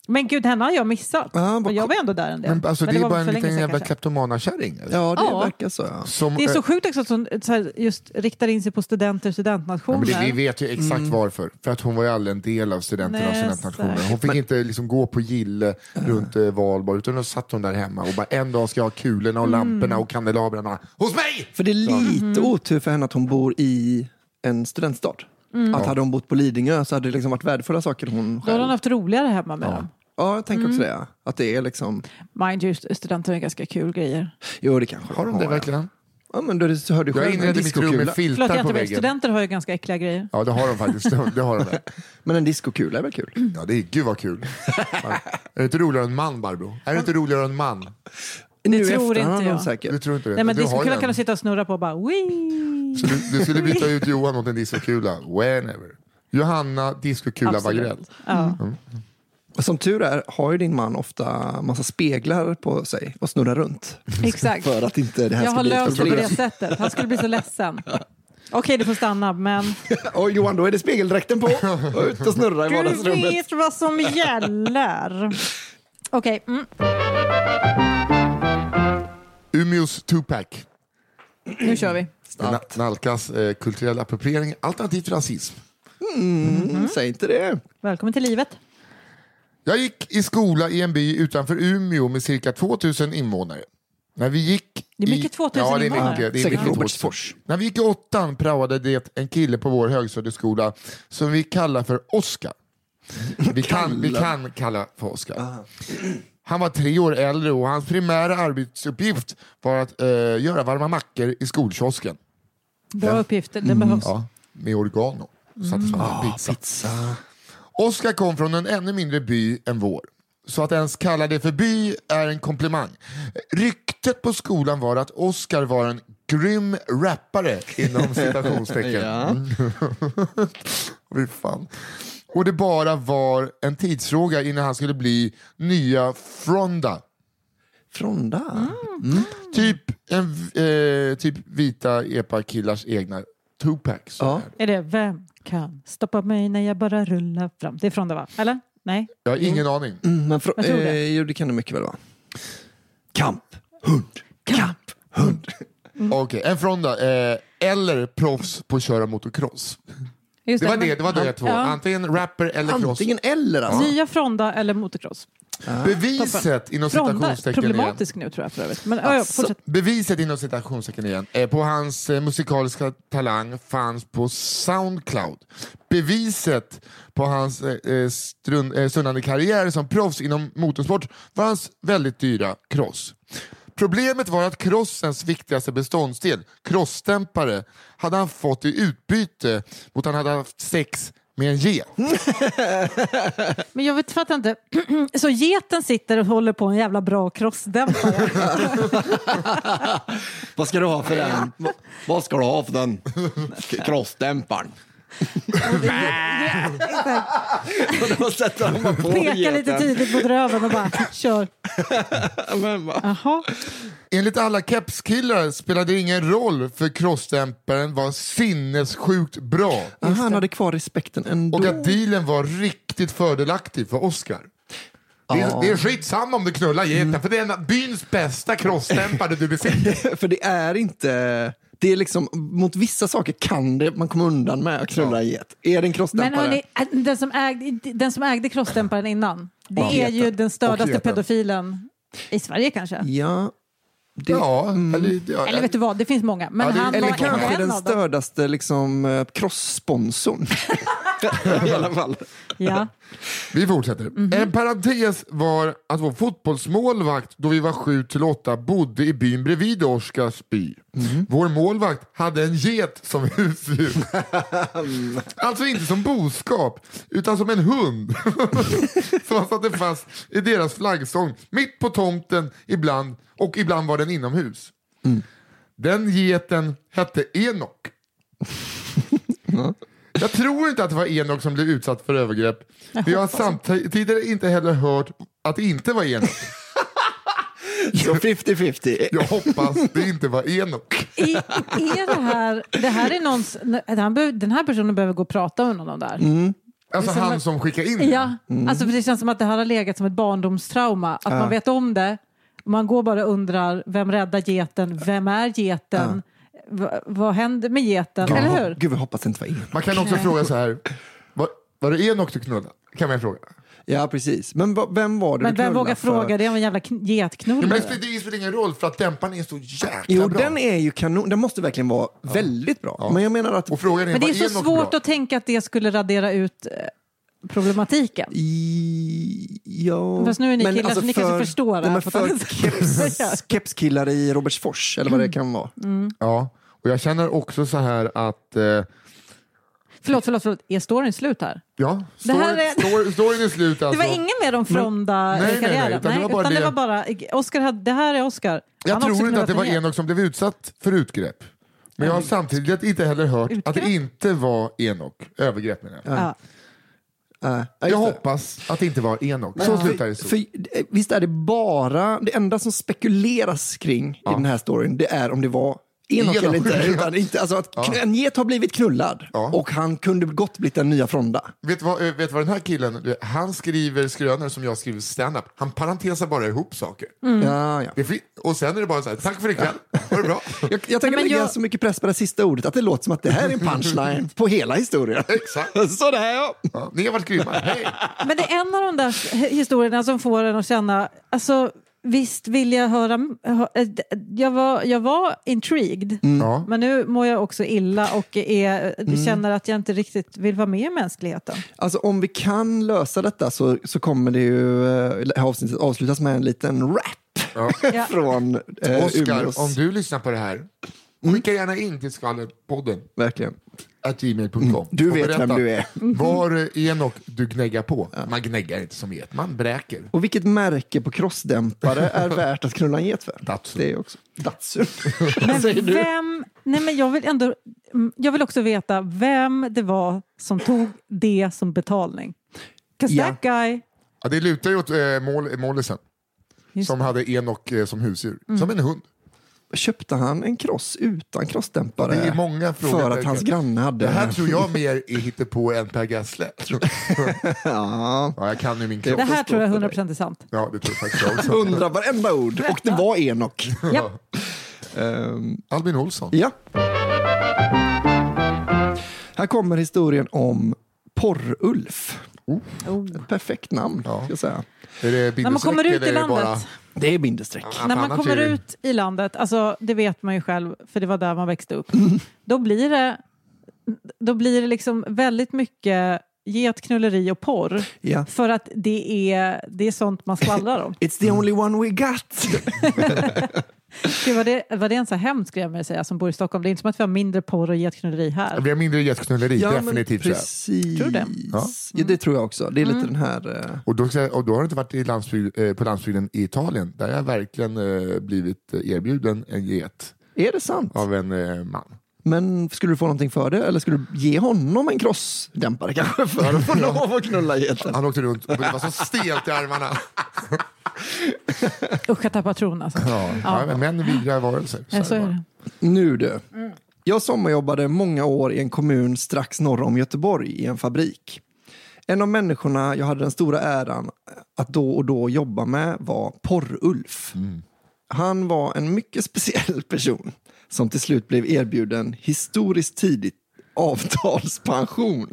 Men gud, henne har jag missat.
Ja, vad
och jag var ändå där en del.
Men, alltså, det,
var
är bara
väl
en
för länge
liten
sedan
jävla
kanske.
kleptomanakärring. eller?
Ja, det
Ja.
verkar så. Ja.
Som,
Det är så
eh,
sjukt också att hon så här, just riktar in sig på studenter och
ja,
studentnationer.
men det, vi vet ju exakt varför. För att hon var ju aldrig en del av studenterna av
Mm. Nej,
studentnationen.
säkert.
Hon fick inte liksom gå på gille runt eh, valborg. Utan då satt hon där hemma och bara en dag ska jag ha kulorna och
Mm.
lamporna och kandelabrarna hos mig!
För det är
Mhm.
lite otur för henne att hon bor i en studentstad.
Mm.
Att hade hon bott på Lidingö så hade det liksom varit värdefulla saker hon
Då har
själv...
hon haft roligare hemma med dem.
Ja, jag tänker
Mm.
också det. ja. Att det är liksom...
Mind you, studenter är ganska kul grejer.
Jo, det kanske
Har de
hon
det
ja.
verkligen?
Ja, men då så hör du
Jag
själv en
inredde mitt rum
diskokula.
med filtar
Förlåt, jag
på
inte vet.
väggen.
Studenter har ju ganska äckliga grejer.
Ja, det har de faktiskt. Det det har de där.
Men en diskokula är väl kul?
Mm.
Ja, det är, gud vad kul. Fan. Är det inte roligare än man, Barbro? Är det inte roligare än man?
Nu i
tror
efterhand
inte
har de
jag.
Du
Säkert.
tror inte det?
Nej, men
du
det
har ju
skulle
en.
kunna sitta och snurra på och bara Wii.
Så du, du skulle byta ut Johan mot en diskokula? Whenever. Johanna, diskokula, Wagrell.
Ja.
Mm.
Och som tur är har ju din man ofta massa speglar på sig och snurrar runt.
Exakt.
För att inte det här
Jag
ska
har
bli
löst
ett
det på
problem.
det sättet. Han skulle bli så ledsen. Okej, du får stanna, men
Och Johan, då är det spegeldräkten på och ut och snurra i
du
vardagsrummet.
vet vad som gäller. Okej, mm,
Umeås Tupac.
nu kör vi.
Na-
Snabbt.
nalkas eh, kulturell appropriering alternativt rasism.
Mm, säg inte det.
Välkommen till livet.
Jag gick i skola i en by utanför Umeå med cirka 2000 invånare. När vi gick
Det är
i-
mycket 2000
ja, det är
invånare.
mycket, det är
Säkert
mycket 2000.
Robertsfors.
När vi gick i åttan praoade det en kille på vår högstadieskola som vi kallar för Oscar. Vi kan, vi kan kalla för Oscar. Han var tre år äldre och hans primära arbetsuppgift var att eh, göra varma mackor i skolkiosken.
Bra uppgifter, den behövs.
Ja, med oregano. Satte som en pizza.
Pizza.
Oskar kom från en ännu mindre by än vår. Så att ens kalla det för by är en komplimang. Ryktet på skolan var att Oskar var en grym rappare inom citationstecken.
Ja.
Mm. Fy fan. Och det bara var en tidsfråga innan han skulle bli nya Fronda.
Fronda.
Mm.
Typ, en, eh, typ vita epa-killars egna Tupacs.
Ja.
Är det Vem kan stoppa mig när jag bara rullar fram? Det är från det, va? Eller? Nej?
Jag har ingen aning.
Mm, men fro-
Jag tror det.
Eh, jo, det kan du mycket väl vara. Kamp. Hund. Kamp. Hund. Mm.
Okej, en Fronda. Eh, eller proffs på att köra motocross.
Just
Det var
men-
det, det var de två.
Ja.
Antingen rapper eller cross.
Antingen eller alltså.
Nya Fronda eller motocross?
Beviset inom
Fronda,
citationstecken igen.
problematisk nu tror jag för övrigt. Men ja, ja,
Alltså.
fortsätt.
Beviset inom citationstecken igen eh, på hans eh, musikaliska talang fanns på Soundcloud. Beviset på hans eh, eh, strun, eh, stundande karriär som proffs inom motorsport var hans väldigt dyra cross. Problemet var att crossens viktigaste beståndsdel, crossdämpare, hade han fått i utbyte mot att han hade haft sex med en get.
Men jag vet, fattar inte. Så geten sitter och håller på en jävla bra crossdämpare.
Vad ska du ha för den? Va- Vad ska du ha för den? K- Krossdämparen. Och då sätter han bara på
Pekar lite
geten.
tydligt mot röven och bara kör.
Men va?
Jaha.
Enligt alla kepskillar spelade det ingen roll för crossdämparen var sinnessjukt bra
Aha, han hade kvar respekten ändå.
och att dealen var riktigt fördelaktig för Oscar. Det är, det är skitsamma om du knullar geten, för det är en av byns bästa crossdämpare du besitter.
För det är inte... Det är liksom, mot vissa saker kan det, man komma undan med att knulla en get. Är det en
Men
krossdämpare?
hörni, äh, den som ägde, den som ägde crossdämparen innan, det
Ja.
är ju den
Och
stördaste
geten.
pedofilen i Sverige kanske.
Ja. Det,
Ja, eller, ja,
Eller vet du vad, det finns många. Men
Ja, det-
han
eller
var
Kanske
en
den
av dem.
stördaste liksom, eh, kross-sponsorn. I alla fall.
Ja.
Vi fortsätter. En parentes var att vår fotbollsmålvakt då vi var 7 till 8 bodde i byn bredvid Oskars by. Vår målvakt hade en get som husdjur. alltså inte som boskap, utan som en hund. som han satte fast i deras flaggstång mitt på tomten ibland och ibland var den inomhus. Den geten hette Enok. Jag tror inte att det var Enok som blev utsatt för övergrepp. Men jag har samtidigt inte heller hört att det inte var Enok.
Så 50-50.
Jag hoppas det inte var Enok.
I, är det här, det här är någons, han behöver- den här personen behöver gå och prata med någon om det här.
Alltså
Det är som
han
att-
som skickade in den.
Ja, alltså för det känns som att det här har legat som ett barndomstrauma. Att man vet om det, man går bara och undrar vem räddar geten, vem är geten, Va- vad händer med geten,
Gud,
eller
jag
hur?
hop- Gud, jag hoppas det inte var in.
Man kan också fråga så här. Var, var det Enok du knullade? Kan man fråga.
Ja, precis. Men va- vem var det
Men
du
vem
knullade
vågar
för?
fråga? Det är en jävla kn-
Ja, men
getknullare.
det spelar- det spelar ingen roll för att dämparen är så jäkla
Jo,
bra.
den är ju kanon. Den måste verkligen vara väldigt bra. Men jag menar att...
Och frågan är,
Men det är
var
så
Enok
svårt
bra?
att tänka att det skulle radera ut eh, problematiken.
I, ja.
Fast nu är ni
Men
killar, så ni kanske förstår det
nej,
här
men
på ett
för
annat sätt.
keps, kepskillar i Robertsfors, eller vad det kan vara.
Mm.
Ja. Och jag känner också så här att... Eh,
Förlåt, förlåt, förlåt. Är storyn slut här?
ja,
Det här
storyn
är-
är... storyn är slut
Det
alltså.
var ingen mer
nej, nej,
om
nej,
Fronda-karriären?
utan det var bara
utan det
det-
var bara... Oscar hade, det här är Oscar.
Jag
Han har också
tror inte att
knullat
det var
en get.
Enok som blev utsatt för utgrepp. Men jag har samtidigt inte heller hört att det
Utgrepp?
inte var Enok. Övergrepp menar jag.
Ja.
Äh, ja,
Jag
just det.
hoppas att det inte var Enok. Så slutar det.
För,
så.
för, eh, visst är det bara... Det enda som spekuleras kring i den här storyn, det är om det var Enoch eller inte.
Genomskinliga.
Utan inte alltså att kn- En get har blivit knullad
Ja.
och han kunde gott blivit den nya Fronda.
Vet du vad, eh, vet du vad den här killen, du, han skriver skrönor som jag skriver stand-up. Han parentesar bara ihop saker.
Mm.
Ja, ja.
Det är fin- och sen är det bara så här, tack för ikväll, ha det bra.
Jag, jag tänker
men
lägga
jag-
så mycket press på det sista ordet att det låter som att det här är en punchline på hela historien.
Exakt.
Så det här ja.
Ja, ni har varit grymma, hej!
Men det är en av de där historierna som får en att känna, alltså visst vill jag höra, hö- eh, d- jag var, jag var intrigued.
Ja.
Men nu mår jag också illa och är,
Mm.
känner att jag inte riktigt vill vara med i mänskligheten.
Alltså om vi kan lösa detta så, så kommer det ju eh, det här avsnittet avslutas med en liten rap
Ja.
från eh, Umeås.
Oskar, om du lyssnar på det här, skicka gärna in till skvallerpodden
Verkligen.
at
Mm.
gmail.com.
Du
Och
vet
berätta,
vem du är.
Var Enok du gnäggar på. Man gnäggar inte som get, man bräker.
Och vilket märke på crossdämpare är värt att knulla en get för?
Datsun.
Det är också. Datsun.
Men
Vad säger du?
vem, nej men jag vill ändå, mm, jag vill också veta vem det var som tog det som betalning. 'Cause
Ja.
that guy,
Ja, det lutar ju åt eh, mål, målisen,
Just
som hade Enok eh, som husdjur, som en hund.
Köpte han en cross utan crossdämpare?
Det är många frågor.
För att hans granne hade...
Det här tror jag mer är hittepå än Per Gessle.
Ja.
Ja, jag kan ju min kropp.
det här
förstå
tror jag
för dig.
100% är sant.
Ja, det tror jag faktiskt jag också.
Undrar varenda ord. Och det var Enok.
Ja.
Ehm,
Albin Olsson.
ja. Här kommer historien om Porr-Ulf. Ett perfekt namn,
Ja.
ska jag säga.
Är det
När man
bindestreck
kommer ut
eller
i
är det
landet,
Det är bindestreck.
Bara...
när man
Annars är
kommer
det-
ut i landet, alltså det vet man ju själv, för det var där man växte upp. Då blir det, då blir det liksom väldigt mycket get, knulleri och porr.
Ja.
För att det är, det är sånt man skvallrar om.
Mm.
It's the only one we got.
Gud, var, det, var det en så här hemsk grej med att säga som bor i Stockholm? Det är inte som att vi har mindre porr och getknulleri
Det
här.
blir mindre getknulleri,
men
definitivt. tror jag.
precis.
Tror du det? Mm.
Ja.
Ja, det tror jag också. Det är lite den här... eh,
Och då, ska jag- och då har du inte varit i landsbygd, eh, på landsbygden i Italien. Där har jag verkligen eh, blivit erbjuden en get
Är det sant?
av en eh, man.
Men skulle du få någonting för det? Eller skulle du ge honom en crossdämpare kanske för att få lov att knulla geten?
Han åkte runt och det var så stelt i armarna.
Usch, jag tappar tron alltså.
Ja, ja. men män är vidriga varelser.
Ja, så är
bara.
det.
Nu du. Jag sommarjobbade många år i en kommun strax norr om Göteborg i en fabrik. En av människorna jag hade den stora äran att då och då jobba med var Porr-Ulf. Han var en mycket speciell person som till slut blev erbjuden historiskt tidigt avtalspension.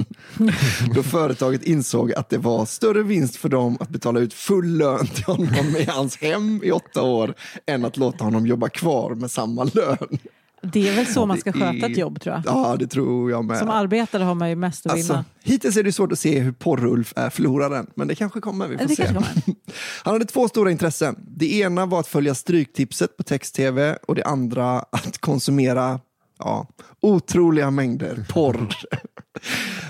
Då företaget insåg att det var större vinst för dem att betala ut full lön till honom i hans hem i åtta år än att låta honom jobba kvar med samma lön.
det är väl så man ska
Det
sköta
är-
ett jobb tror jag.
Ja, det tror jag med.
Som arbetare har man ju mest att vinna.
Alltså, hittills är det svårt att se hur Porrulf är förloraren, men det kanske kommer. Vi får
Det
se.
kanske
Han hade två stora intressen. Det ena var att följa Stryktipset på text-tv och det andra att konsumera ja, otroliga mängder porr.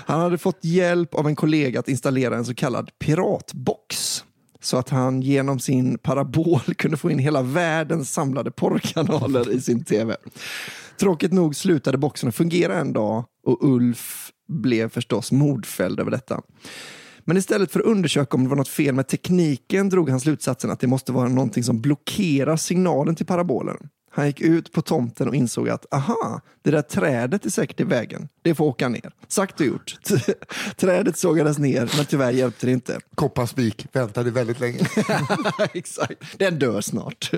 Han hade fått hjälp av en kollega att installera en så kallad piratbox så att han genom sin parabol kunde få in hela världens samlade porrkanaler i sin tv. Tråkigt nog slutade boxen att fungera en dag och Ulf blev förstås mordfälld över detta. Men istället för att undersöka om det var något fel med tekniken drog han slutsatsen att det måste vara någonting som blockerar signalen till parabolen. Han gick ut på tomten och insåg att aha, det där trädet är säkert i vägen. Det får åka ner. Sagt och gjort. Trädet sågades ner, men tyvärr hjälpte det inte.
Kopparspik väntade väldigt länge.
Exakt. Den dör snart.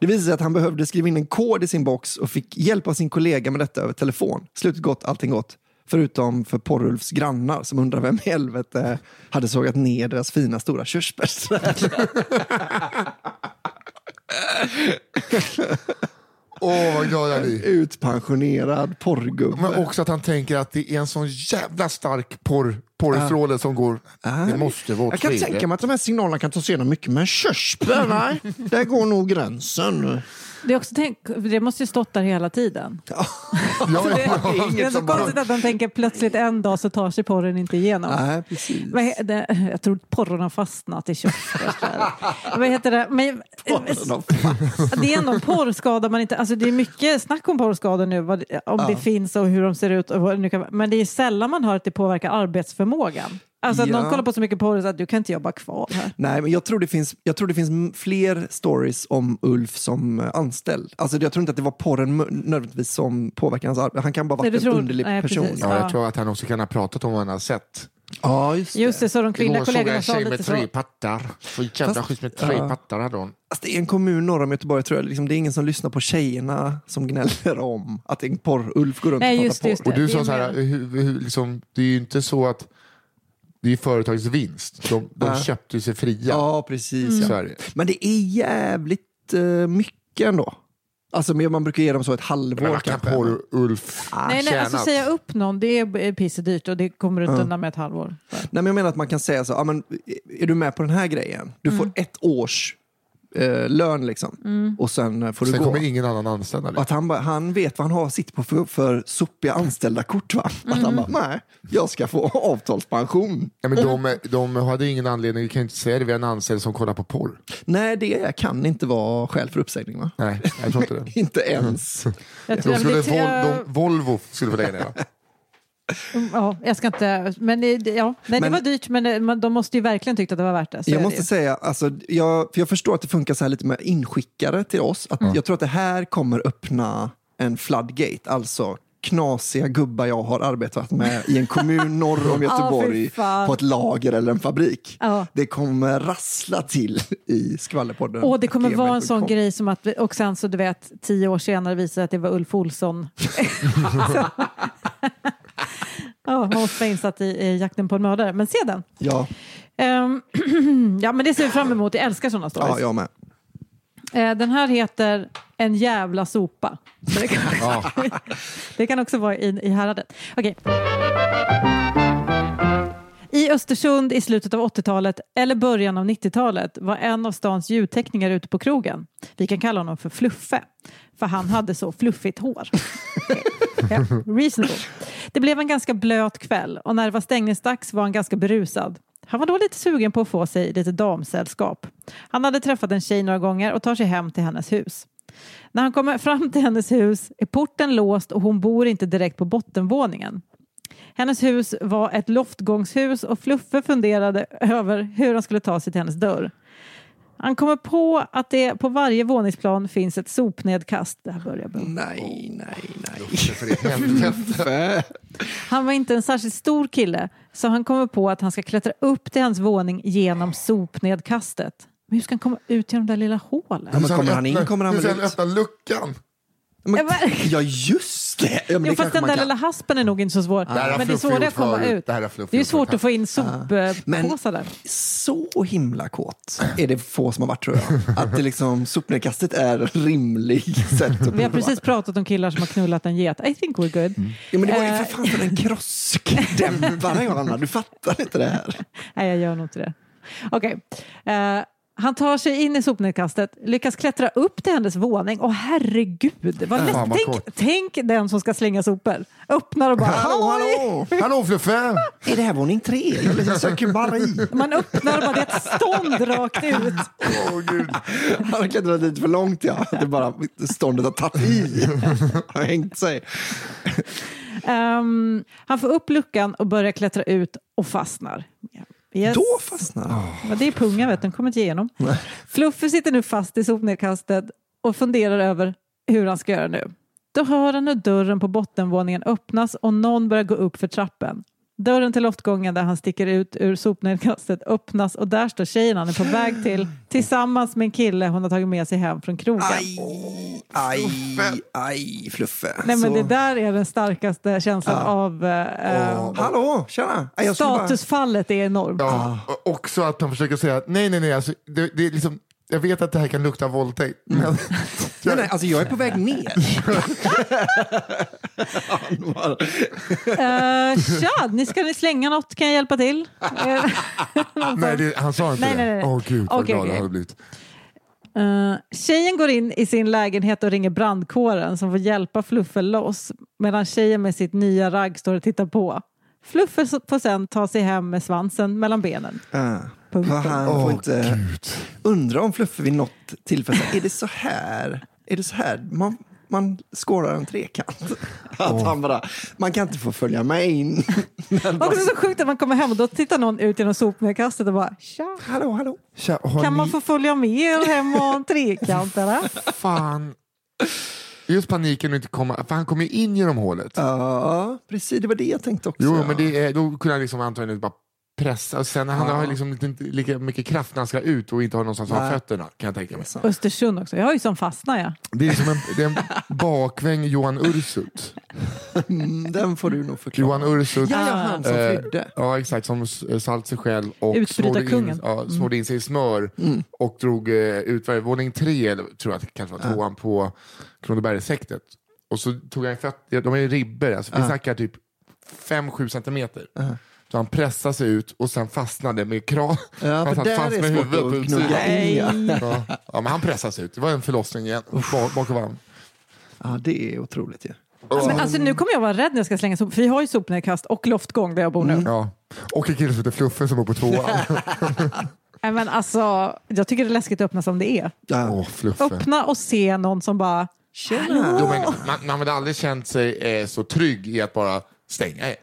Det visade sig att han behövde skriva in en kod i sin box och fick hjälp av sin kollega med detta över telefon. Slutet gott, allting gott. Förutom för Porrulfs grannar som undrar vem i helvete hade sågat ner deras fina stora körsbärsträd.
Åh, vad glad jag blir.
Utpensionerad
Men
porrgubbe.
också att han tänker att det är en sån jävla stark porr, porrstråle som går. Det måste vara åt
Jag kan
fel.
tänka mig att de här signalerna kan ta sig igenom mycket, men körsbär, nej. Där går nog gränsen.
Det, är också, tänk, det måste ju stått där hela tiden.
Ja,
Det,
ja, ja.
det är så konstigt att de tänker plötsligt en dag så tar sig porren inte igenom.
Nej, precis.
Vad he- det, jag tror porren har fastnat i körsbärsträdet. Vad heter det? Men, eh, det är ändå en porrskada man inte... Alltså det är mycket snack om porrskador nu, vad, om det finns och hur de ser ut. Och vad, det nu kan, vara. men det är sällan man hör att det påverkar arbetsförmågan. Alltså att någon
Ja.
kollar på så mycket porr så att du kan inte jobba kvar här.
Nej, men jag tror, det finns, jag tror det finns m- fler stories om Ulf som eh, anställd. Alltså, jag tror inte att det var porren m- nödvändigtvis som påverkade hans arbete. Han kan bara ha
Nej,
varit
du
en
tror-
underlig
nej,
person.
precis.
Ja.
Ja,
Ja.
jag tror att han också kan ha pratat om vad han har sett.
ja, just det.
Just det, så de
Igår
kvinnliga
såg jag
kollegorna
en
sa
tjej
lite
med
så.
tre pattar. Så jävla
Fast-
schysst med tre
ja.
pattar hade hon.
Alltså, det är en kommun norr om Göteborg, tror jag. Liksom, det är ingen som lyssnar på tjejerna som gnäller om att en porr-Ulf går runt
Nej,
och
just det,
pratar
just
porr.
Och du
Det är
sa så här,
mer-
hur, hur, liksom, det är ju inte så att det är företagets vinst. De, de
Ja.
köpte sig fria.
Ja, precis.
i
Ja.
Sverige.
Men det Mm. är jävligt eh, mycket ändå. Alltså, men man brukar ge dem så ett
Men
halvår
vad kan
kanske.
porr-Ulf
Ah,
Nej, nej, alltså
tjänat?
säga upp någon, det är eh, pissedyrt och det kommer du inte undan med ett halvår.
Nej, men jag menar att man kan säga så, ja, men, är du med på den här grejen? Du får ett års eh, lön liksom och sen eh, får du
Sen
gå.
kommer ingen annan anställa
Och
dig.
Att han, bara- han vet vad han har sitt på för, för sopiga anställda kort va? Och Att han bara, nej, jag ska få avtalspension.
Ja, men de, de hade ingen anledning, vi kan ju inte säga det, vi har en anställd som kollar på porr.
Nej, det kan inte vara skäl för uppsägning va?
Nej, jag tror inte det.
Inte ens.
Jag, tror-
De skulle,
det-
Vol,
jag-
de, Volvo skulle få lägga ner va?
Ja, jag ska inte... Men, det- ja. Nej,
Men-
det var dyrt, men eh, man- de måste ju verkligen tyckt att det var värt det. Så är
Jag
det
måste
ju.
säga, alltså, jag, för jag förstår att det funkar så här lite med inskickare till oss. Att
Mm.
Jag tror att det här kommer öppna en floodgate, alltså knasiga gubbar jag har arbetat med i en kommun norr om Göteborg
fy fan.
på ett lager eller en fabrik.
Ja.
Det kommer rassla till i skvallerpodden.
Och det kommer vara en sån
gmail.com.
grej som att, och sen så du vet, tio år senare visar det att det var Ulf Olsson. Så- ja, man måste vara insatt i, i jakten på en mördare, men se den.
Ja,
Ehm, ja, men det ser vi fram emot, jag älskar sådana stories.
ja, jag med.
Eh, den här heter En jävla sopa. Så det, kan, det kan också vara i, i häradet. Okej. I Östersund i slutet av 80-talet eller början av 90-talet var en av stans ljudtekniker ute på krogen. Vi kan kalla honom för Fluffe, för han hade så fluffigt hår. Ja, reasonable. Det blev en ganska blöt kväll och när det var stängningsdags var han ganska berusad. Han var då lite sugen på att få sig lite damsällskap. Han hade träffat en tjej några gånger och tar sig hem till hennes hus. När han kommer fram till hennes hus är porten låst och hon bor inte direkt på bottenvåningen. Hennes hus var ett loftgångshus och Fluffe funderade över hur han skulle ta sig till hennes dörr. Han kommer på att det på varje våningsplan finns ett sopnedkast. Det här börjar bra.
Nej, nej, nej.
För i helvete.
Han var inte en särskilt stor kille så han kommer på att han ska klättra upp till hans våning genom sopnedkastet. Men hur ska han komma ut genom det där lilla hålet?
Ja, men kommer han in,
öppnar-
kommer han
hur
väl
ska
ut?
öppna luckan?
Men,
Ja, men-
ja, just det. Ja, men det
Jo, fast
kanske
den
man
där
kan.
lilla haspen är nog inte så svår.
här har
men det är
Fluffy
svårare
gjort
att komma
förut.
ut.
Det här har Fluffy
Det är ju
gjort
svårt
förut.
att få in soppåsar där.
så himla kåt är det få som har varit tror jag. Att det liksom, sopnedkastet är rimlig sätt att
Vi har precis pratat om killar som har knullat en get. I think we're good.
Ja, men det var ju
Eh.
för fan för en krossdämpare, Johanna. Du fattar inte det här.
Nej, jag gör nog inte det. Okej. Eh, han tar sig in i sopnedkastet, lyckas klättra upp till hennes våning. Åh herregud, vad lätt.
Fan, vad
tänk,
kort.
tänk den som ska slänga sopor. Öppnar och bara...
Hallå,
"Halloj!"
hallå!
Hallå Fluffe!
Är det här våning tre? Jag liksom söker bara i.
Man öppnar och bara det är ett stånd rakt ut.
Åh gud.
Han har klättrat lite för långt, ja. Det är bara ståndet har tagit i. Har hängt sig.
Ehm, han får upp luckan och börjar klättra ut och fastnar. Yes.
Då fastnar han.
Men det är punga, vet du. den kommer inte igenom. Fluffe sitter nu fast i sopnedkastet och funderar över hur han ska göra nu. Då hör han hur dörren på bottenvåningen öppnas och någon börjar gå upp för trappen. Dörren till loftgången där han sticker ut ur sopnedkastet öppnas och där står tjejen han är på väg till tillsammans med en kille hon har tagit med sig hem från krogen.
Aj, aj, aj, Fluffe.
Nej, men
Så-
det där är den starkaste känslan av... Eh, eh,
Hallå, tjena! Nej, jag skulle bara-
statusfallet är enormt.
Ja,
Ah.
och också att de försöker säga att nej, nej, nej, alltså, det, det är liksom, jag vet att det här kan lukta våldtäkt. Men
Nej, nej, alltså jag är på väg ner. Han bara,
Eh, tja, ni ska ni slänga något? Kan jag hjälpa till? Eh,
nej, det, han sa inte
Nej,
det.
nej, nej.
Åh gud vad
Okej,
glad
okej.
han hade blivit.
Eh, tjejen går in i sin lägenhet och ringer brandkåren som får hjälpa Fluffe loss medan tjejen med sitt nya ragg står och tittar på. Fluffe s- får sen ta sig hem med svansen mellan benen.
ah,
Punkt.
vad han får
Åh
inte...
gud.
Undrar om Fluffe vid något tillfälle, är det så här? Är det så här? Man, man skårar en trekant. Att han bara, man kan inte få följa med in.
Också så sjukt att man kommer hem och då tittar någon ut genom sopnedkastet och bara tja.
hallå, hallå.
Tja, har
Kan
ni...
man få följa med er hem och ha en trekant eller?
Fan. Just paniken att inte komma, för han kom ju in genom hålet.
Ja, precis. Det var det jag tänkte också.
Jo,
ja.
men det är, då kunde han liksom antagligen bara pressa. Och sen han
Ja.
har ju liksom inte inte lika mycket kraft när han ska ut och inte har någonstans att ha
Nej.
fötterna. Kan jag tänka mig.
sant.
Östersund också. Jag har ju som fastnat jag.
Det är som en, det är en bakväng Johan Ursut.
Mm, Den får du nog förklara.
Johan Ursut.
Ja, ja, han som
eh,
flydde.
ja, exakt. Som s- salt sig själv och
Utbryta
snodde in,
kungen.
Mm.
ja, snodde in sig i smör och drog eh, ut varje- våning tre, eller tror jag att det kanske var tvåan, på Kronobergssektet. Och så tog han fötter, ja, de är ju ribbor, alltså, vi snackar typ fem sju centimeter. Så han pressade sig ut och sen fastnade med krav.
Ja,
han
för där är svårt
på
att
utsidan.
knugga in. Ja.
Ja. ja, men han pressades ut. Det var en förlossning igen. Bak- Bakom varandra.
ja, det är otroligt ju.
Alltså, alltså nu kommer jag vara rädd när jag ska slänga sop. För vi har ju sopnedkast och loftgång där jag bor nu.
Ja. Och en kille som heter Fluffe som bor på tvåan.
Nej, Men alltså, jag tycker det är läskigt att öppna som det är.
Ja.
Åh, Fluffe.
Öppna och se någon som bara
Jo, men man, man hade aldrig känt sig eh, så trygg i att bara stänga igen.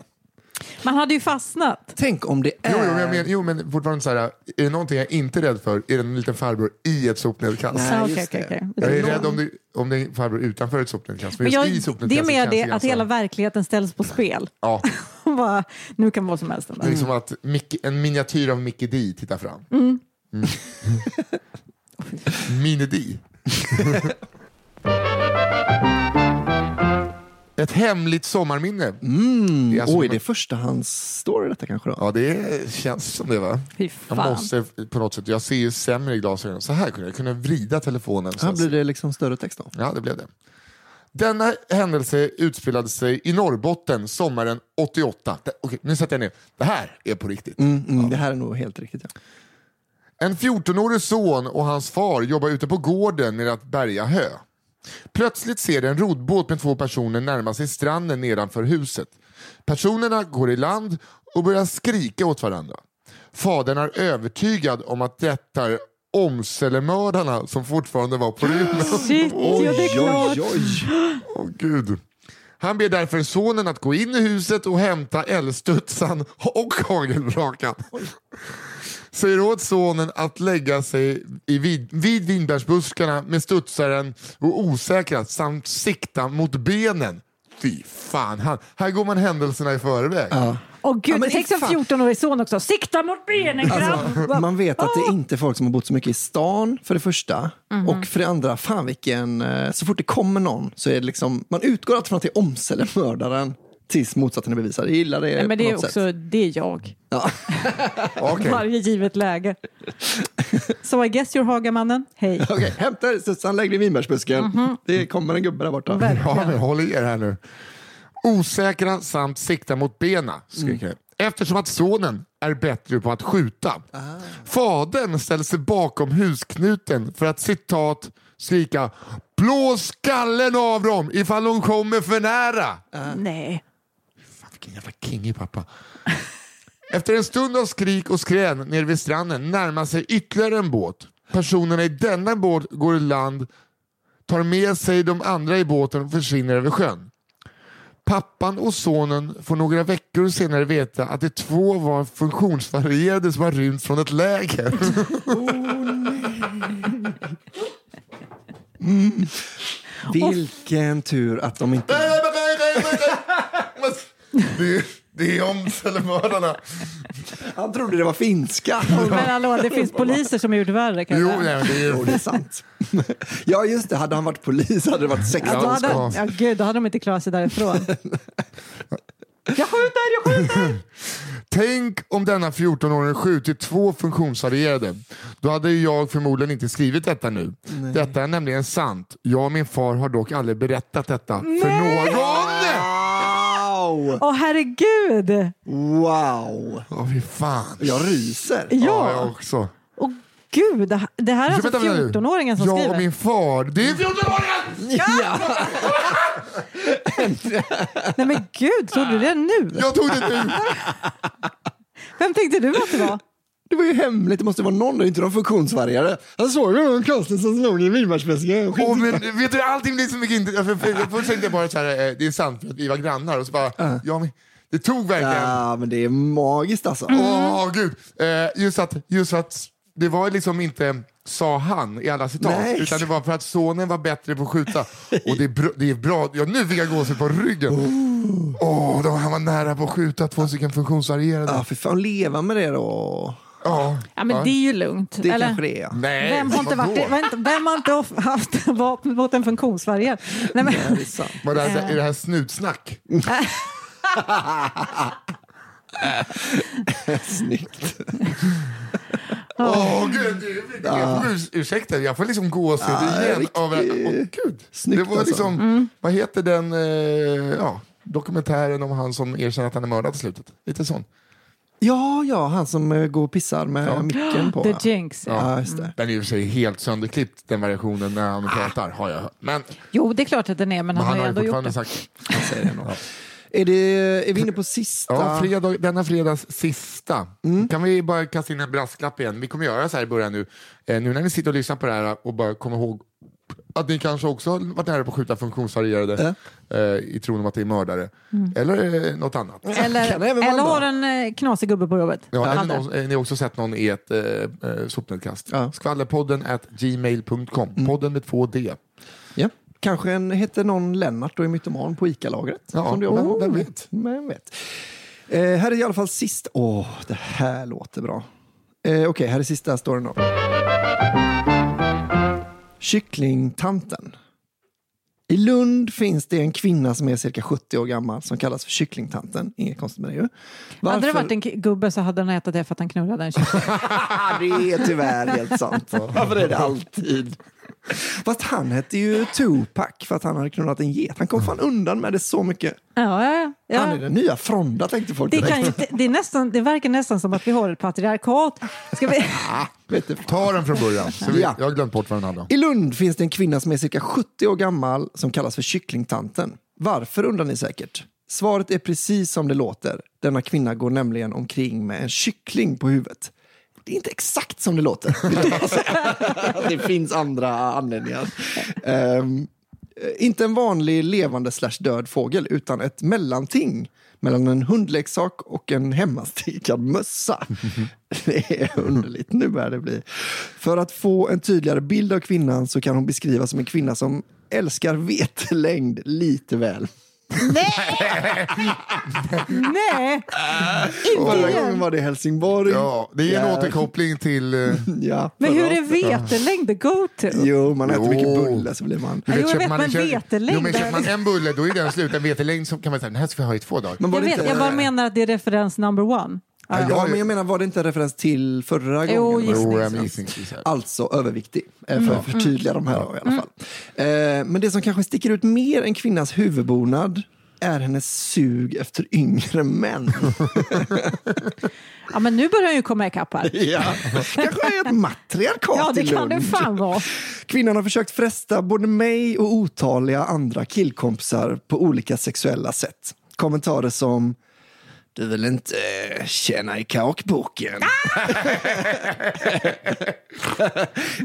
Man hade ju fastnat.
Tänk om det
Jo,
är...
jo,
Eh.
men jag men, jo, men fortfarande så här, är det någonting jag inte är rädd för är det en liten farbror i ett sopnedkast.
Nej.
Ja,
just
okej, okej,
det.
okej.
Jag är rädd om det, om det är en farbror utanför ett sopnedkast. Men
Men
just
jag,
i
det är
sopnedkastet
mer
känns
det
ganska-
att hela verkligheten ställs på spel.
Ja,
bara, nu kan vad som helst
det är
hända.
liksom att Mickey, en miniatyr av Mickey D tittar fram. Mm. Mini D. Ett hemligt sommarminne. Det är alltså-
Mm. Oj, det är förstahandsstory detta kanske då?
Ja, det känns som det va?
Fy
Jag
fan.
måste på något sätt, jag ser ju sämre i glasögonen. Så här kunde jag, jag kunde vrida telefonen. Så
Här
att-
blir det liksom större text då.
Ja, det blev det. Denna händelse utspelade sig i Norrbotten sommaren 88. Det, okej, nu sätter jag ner. Det här är på riktigt.
Mm, mm, Det här är nog helt riktigt. Ja.
En 14-årig son och hans far jobbar ute på gården med att bärga hö. Plötsligt ser de en rodbåt med två personer närma sig stranden nedanför huset. Personerna går i land och börjar skrika åt varandra. Fadern är övertygad om att detta är Åmselemördarna som fortfarande var på rymmen.
Shit, ja det är klart.
oj.
Åh gud. Han ber därför sonen att gå in i huset och hämta älgstudsaren och hagelbrakan. Säger åt sonen att lägga sig i vid, vid vinbärsbuskarna med studsaren och osäkrat samt sikta mot benen. Fy fan, han, här går man händelserna i förväg.
Åh
Ja,
gud,
men
tänk
i
som
fan-
14-årig son också. Sikta mot benen grabb!
Man vet att
Ah.
det är inte är folk som har bott så mycket i stan, för det första.
Mhm.
Och för det andra, fan vilken... eh, Så fort det kommer någon så är det liksom... Man utgår alltid från att det är Åmselemördaren tills motsatsen är bevisad. Jag gillar det
Nej, men
på
det är
något sätt.
också, det är jag.
Okej.
Varje givet läge. So I guess you're Hagamannen. Hej.
Okej, hämta dig, Susanne, lägg dig i vinbärsbusken.
Mhm.
Det kommer en gubbe där borta.
Ja, men håll i er här nu. Osäkra samt sikta mot bena, skriker det. Eftersom att sonen är bättre på att skjuta. Fadern ställer sig bakom husknuten för att citat skrika Blås skallen av dem ifall de kommer för nära.
Nej.
Fan, vilken jävla kingig pappa. Efter en stund av skrik och skrän nere vid stranden närmar sig ytterligare en båt. Personerna i denna båt går i land, tar med sig de andra i båten och försvinner över sjön. Pappan och sonen får några veckor senare veta att de två var funktionsvarierade som har rymt från ett läger.
Vilken tur att de inte...
Ah!
Det är, det är Åmselemördarna.
Han trodde det var finska.
Men hallå, det finns poliser som har gjort värre. Kan
Jo,
jag
nej, men
säga.
det är
Jo, det är sant. Ja, just det. Hade han varit polis hade det varit
Då
16
hade,
ska ha.
ja, gud, då hade de inte klarat sig därifrån. Jag skjuter, jag skjuter!
Tänk om denna 14-åring skjutit två funktionsvarierade. Då hade ju jag förmodligen inte skrivit detta nu. Detta är nämligen sant. Jag och min far har dock aldrig berättat detta för någon.
Wow!
Åh herregud!
Wow!
Åh fy fan.
Jag ryser.
Ja,
Ja,
jag också.
åh gud. det här- Det här är alltså
Vänta, vänta nu.
14-åringen som
jag
skriver.
och min far. Det är 14-åringen!
Ja.
Nej men gud, såg du det nu?
Jag tog det nu.
Vem tänkte du att det var?
Det var ju hemligt, det måste vara någon, det är inte någon funktionsvargare. Han såg ju någon konstig som slog i en vinbärsväska.
Åh, men, vet du, allting blir så mycket inte... Alltså, För, för, för, först tänkte jag bara så här, eh, det är sant för att vi var grannar och så bara, ja men det tog verkligen.
Ja, men det är magiskt alltså.
Mm.
Åh gud, eh, just, att, just att det var liksom inte sa han i alla citat,
Nej.
utan det var för att sonen var bättre på att skjuta. Och det är, br- det är bra, ja, nu fick jag gåshud på ryggen.
Oh.
Åh, då- han var nära på att skjuta två stycken
Ah.
funktionsvarierade.
Ja, för fan, leva med det då.
Ja.
Ja, men det är ju lugnt.
Det
eller?
kanske det är. ja.
Nej,
Vem har inte,
vadå?
varit, vem- vem har inte off- haft vapen mot en funktionsvarierad? Nej, men,
Det är sant.
Var det
Eh.
här, är det här snutsnack?
Snyggt.
Åh gud, jag får urs- ursäkta, jag får liksom gåshud
Ja,
igen.
riktigt.
Av, åh, gud.
Snyggt
det var
alltså.
liksom, vad heter den eh, ja, dokumentären om han som erkänner att han är mördad i slutet? Lite sån.
Ja, ja, han som eh, går och pissar med micken på.
The Jinx.
Ja, just det.
Den är i och för sig helt sönderklippt, den versionen när han pratar, har jag hört. Men,
Jo, det är klart att den är, men
men
han,
han
har
har
ju
ju
ändå gjort
fortfarande
det.
sagt...
Säger det nog. Är, det, är vi inne på sista?
Ja, fredag, denna fredags sista.
Mm.
Kan vi bara kasta in en brasklapp igen? Vi kommer göra så här i början nu. Eh, nu när ni sitter och lyssnar på det här och bara kommer ihåg att ni kanske också har varit nära på att skjuta funktionsvarierade eh, i tron om att det är mördare.
Mm.
Eller eh, något annat.
Eller,
Kan det även vara
eller
bra?
har en eh, knasig gubbe på jobbet.
Ja, eller
Hade.
någon, eh, ni har också sett någon i ett eh, eh, sopnedkast.
Ja. Mm.
Skvallerpodden at gmail.com. Podden med två D.
Ja. Kanske en, heter någon Lennart och är mytoman på ICA-lagret.
Ja,
som du
vem-
jobbar på. Mm.
vem vet?
Vem vet. Eh, här är i alla fall sist. Åh, det här låter bra. Eh, Okej, här är sista storyn då. Kycklingtanten. I Lund finns det en kvinna som är cirka 70 år gammal som kallas för kycklingtanten. Inget konstigt med det ju.
Hade det
Varför-
varit en k- gubbe så hade han ätit det för att han knullade en tjej.
Ah, det är tyvärr helt sant. Varför är det alltid? Fast han hette ju Tupac för att han hade knullat en get. Han kom fan undan med det så mycket.
Ja, ja,
Han är
ja.
den nya Fronda tänkte folk
Det,
direkt.
kan ju, inte- det, är nästan, det verkar nästan som att vi har ett patriarkat. Ska vi...
Vet du.
Ah, Ta den från början. Så vi,
Ja.
Jag har glömt bort vad den handlar om.
I Lund finns det en kvinna som är cirka 70 år gammal som kallas för kycklingtanten. Varför undrar ni säkert? Svaret är precis som det låter. Denna kvinna går nämligen omkring med en kyckling på huvudet. Det är inte exakt som det låter. vill jag bara säga. det finns andra anledningar. Ehm, Eh, inte en vanlig levande slash död fågel utan ett mellanting mellan en hundleksak och en hemmastickad mössa. Det är underligt, nu börjar det bli. För att få en tydligare bild av kvinnan så kan hon beskrivas som en kvinna som älskar vetelängd lite väl.
Nej!
Förra gången var det i Helsingborg.
Ja, det är en
Ja.
återkoppling till... eh,
Ja,
Men
förra
hur är
avsnittet.
vetelängd the go-to?
Jo, man äter
Jo.
mycket bulle så blir man...
Jo, jag
köper
vet, men
köper-
vetelängd
Jo, men köper man
är-
en bulle då är den slut. En vetelängd så kan man säga, den här ska vi ha i två dagar.
Men var
Jag,
det
vet,
inte-
jag bara menar att det är referens number one.
Ja,
jag-
men jag menar, var det inte en referens till förra
Jo,
gången?
gissning.
Jo, jag gissningsvis här.
Alltså överviktig, eh,
Mm.
för att förtydliga de här då, i alla fall. Eh, Men det som kanske sticker ut mer än kvinnans huvudbonad är hennes sug efter yngre män.
Ja, men nu börjar jag ju komma ikapp här.
ja. Kanske är ett matriarkat
Ja, det
i Lund.
kan det fan vara.
Kvinnan har försökt fresta både mig och otaliga andra killkompisar på olika sexuella sätt. Kommentarer som du vill inte eh, känna i kakboken.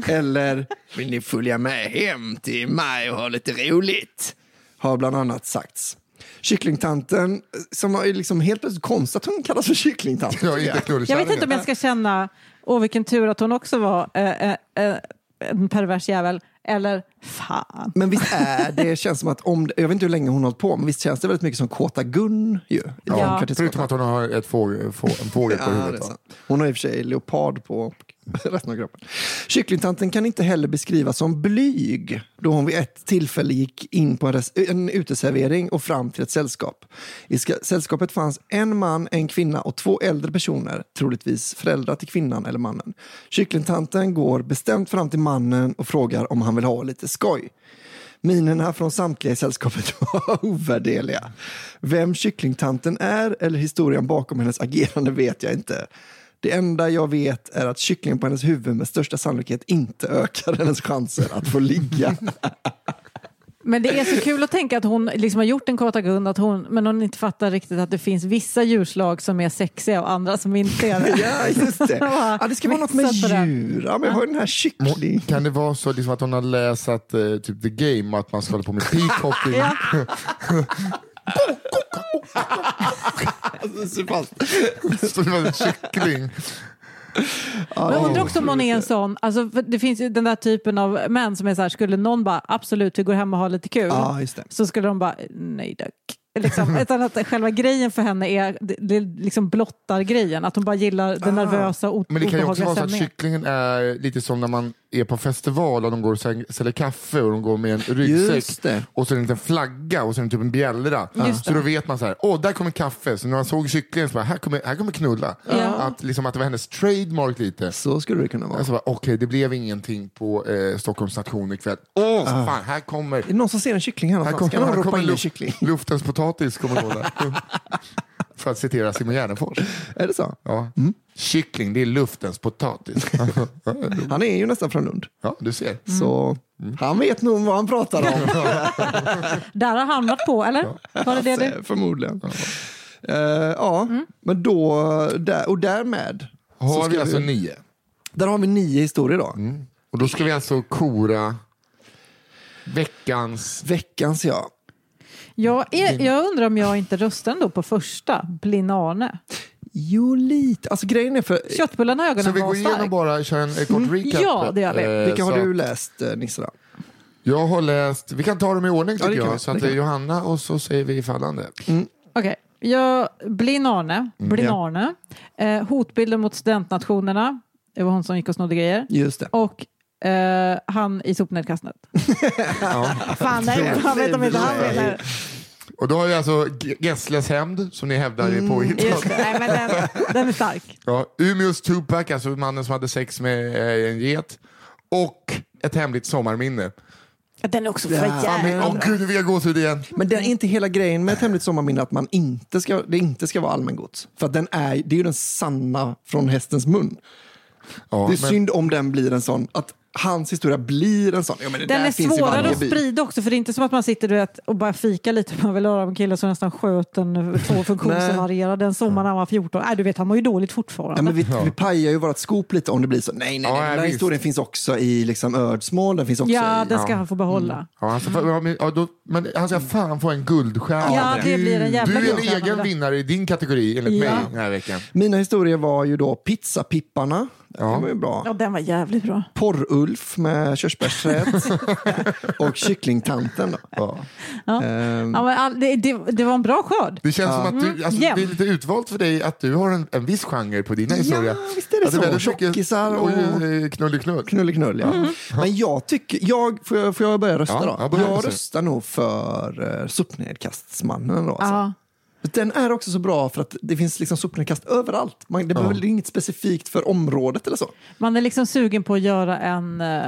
Eller vill ni följa med hem till mig och ha lite roligt? Har bland annat sagts. Kycklingtanten, eh, som har ju liksom helt plötsligt konstigt att hon kallas för kycklingtanten.
Jag, är inte
Jag vet inte om jag ska känna, åh vilken tur att hon också var eh, eh, eh, en pervers jävel, eller fan.
Men visst är det, känns som att om, jag vet inte hur länge hon har hållit på, men visst känns det väldigt mycket som Kåta Gun ju.
Ja.
Förutom att hon har ett få, få, en fågel på
Ja, det är
huvudet. va?
sant. Hon har i och för sig leopard på resten av kroppen. Kycklingtanten kan inte heller beskrivas som blyg då hon vid ett tillfälle gick in på en, res- en uteservering och fram till ett sällskap. I ska- sällskapet fanns en man, en kvinna och två äldre personer, troligtvis föräldrar till kvinnan eller mannen. Kycklingtanten går bestämt fram till mannen och frågar om han vill ha lite skoj. Minerna från samtliga i sällskapet var ovärderliga. Vem kycklingtanten är eller historien bakom hennes agerande vet jag inte. Det enda jag vet är att kycklingen på hennes huvud med största sannolikhet inte ökar hennes chanser att få ligga.
Men det är så kul att tänka att hon liksom har gjort en Kata Gun, att hon, men hon inte fattar riktigt att det finns vissa djurslag som är sexiga och andra som inte är det.
Ja, just det. Ja, det ska vara något med
Mixat på det.
djur. Ja, men jag har ju den här kyckling...
Kan det vara så liksom, att hon har läst eh, typ The Game, att man ska hålla på med peacocking? Så det var en kyckling.
Men jag undrar också om hon är en sån, alltså, för det finns ju den där typen av män som är så här, skulle någon bara absolut vi går hem och har lite kul,
Ja, just det.
så skulle de bara nej tack. Liksom, utan att själva grejen för henne är, det, det liksom blottar grejen, att hon bara gillar den nervösa och
Ah. Men det kan ju också
obehagliga
vara så att
stämningen.
kycklingen är lite som när man är på festival och de går och säl- säljer kaffe och de går med en
Just det.
ryggsäck och så är det en liten flagga och så är det typ en bjällra.
Just
Så
det.
då vet man så här, åh där kommer kaffe. Så när man såg kycklingen så bara, här kommer, här kommer knulla.
Ja.
Att, liksom, att det var hennes trademark lite.
Så skulle det kunna vara.
Alltså bara, okej det blev ingenting på eh, Stockholms station ikväll. Åh fan, här kommer,
Är det någon som ser en kyckling här
här kommer,
någonstans? Kan någon
här
ropa
kommer
in en
luft,
kyckling?
luftens potatis kommer gå där. För att citera Simon Gärdenfors.
Är det så?
Ja.
Mm.
Kyckling, det är luftens potatis.
Han är ju nästan från Lund.
ja, du ser.
Så han vet nog vad han pratar om.
Där har han varit på, eller? Var det det du?
Eh, Förmodligen. Eh, ja,
Mm.
men då... Där, och därmed... så
Har
ska
vi alltså Mm. nio?
Där har vi nio historier då.
Och då ska vi alltså kora veckans...
Veckans ja.
Jag, är, jag undrar om jag inte röstar ändå på första, Blinane.
Jo, lite. Alltså grejen är för...
Köttbullarna i
Eh, Så
ögonen
vi
var
går igenom
stark.
bara, kör en eh, kort recap.
Ja, det gör vi.
Eh,
Vilka har
så
du läst, eh, Nisse? Då?
Jag har läst, vi kan ta dem i ordning tycker
det kan vi.
jag. Så
Det
att det är Johanna och så säger vi fallande.
Okej, jag Blinane,
Mm.
Blinane. Eh, hotbilden mot studentnationerna. Det var hon som gick och snodde grejer.
Just det.
Och eh, han i sopnedkastet. Fan, nej, man vet om inte han menar.
Och då har vi alltså G- Gessles hämnd som ni hävdar är påhittad.
Mm, Just det, nej, men den, den är stark.
Ja, Umeås Tupac, alltså mannen som hade sex med eh, en get. Och ett hemligt sommarminne.
Den är också
Ja.
Fan, men-
Mm.
Åh gud, nu vill jag gåshud igen.
Men det är inte hela grejen med ett hemligt sommarminne att man inte ska, det inte ska vara allmängods. För att den är, det är ju den sanna från hästens mun.
Ja,
det är
men-
synd om den blir en sån, att hans historia blir en sån. Ja, men det
Den
där
är
finns i
svårare
varje
att
by.
sprida också, för det är inte som att man sitter du vet, och bara fikar lite. Man vill höra om killar som nästan sköt en två funktionsvarierad den sommaren han var 14. Nej, du vet, han mår ju dåligt fortfarande.
Ja, men vi, vi pajar ju vårt skop lite om det blir så. Nej, nej,
Ja,
nej. Den där
visst.
historien finns också i liksom, Ödsmål. Den finns också
Ja,
i...
den ska han få
Mm.
behålla.
Ja, han ska, fa- ja, men, ja, då, men han ska fan få en guldstjärna.
Ja, det blir en jävla
Du är en
guldstjärna
egen
där.
vinnare i din kategori enligt
Ja.
mig den här veckan.
Mina historier var ju då Pizzapipparna. Det var ju bra.
Ja, den var jävligt bra.
Porr-Ulf med körsbärsträd. och Kycklingtanten. Då. Ehm,
Ja. Ja, men all, det, det, det var en bra skörd.
Det känns som att du, alltså,
jämn.
det är lite utvalt för dig att du har en, en viss genre på dina historier.
visst är det
Att
så.
väldigt mycket-
Tjockisar och-
eh, knulliknull.
Knulliknull, ja.
Mm.
Men jag tycker... Jag, får, jag, får jag börja rösta
Ja,
då?
ja, börja
jag
rösta.
röstar nog för uh, sopnedkastsmannen. Då, alltså.
Ja.
Den är också så bra för att det finns liksom sopnedkast överallt. Man, det behöver inget specifikt för området eller så.
Man är liksom sugen på att göra en, eh,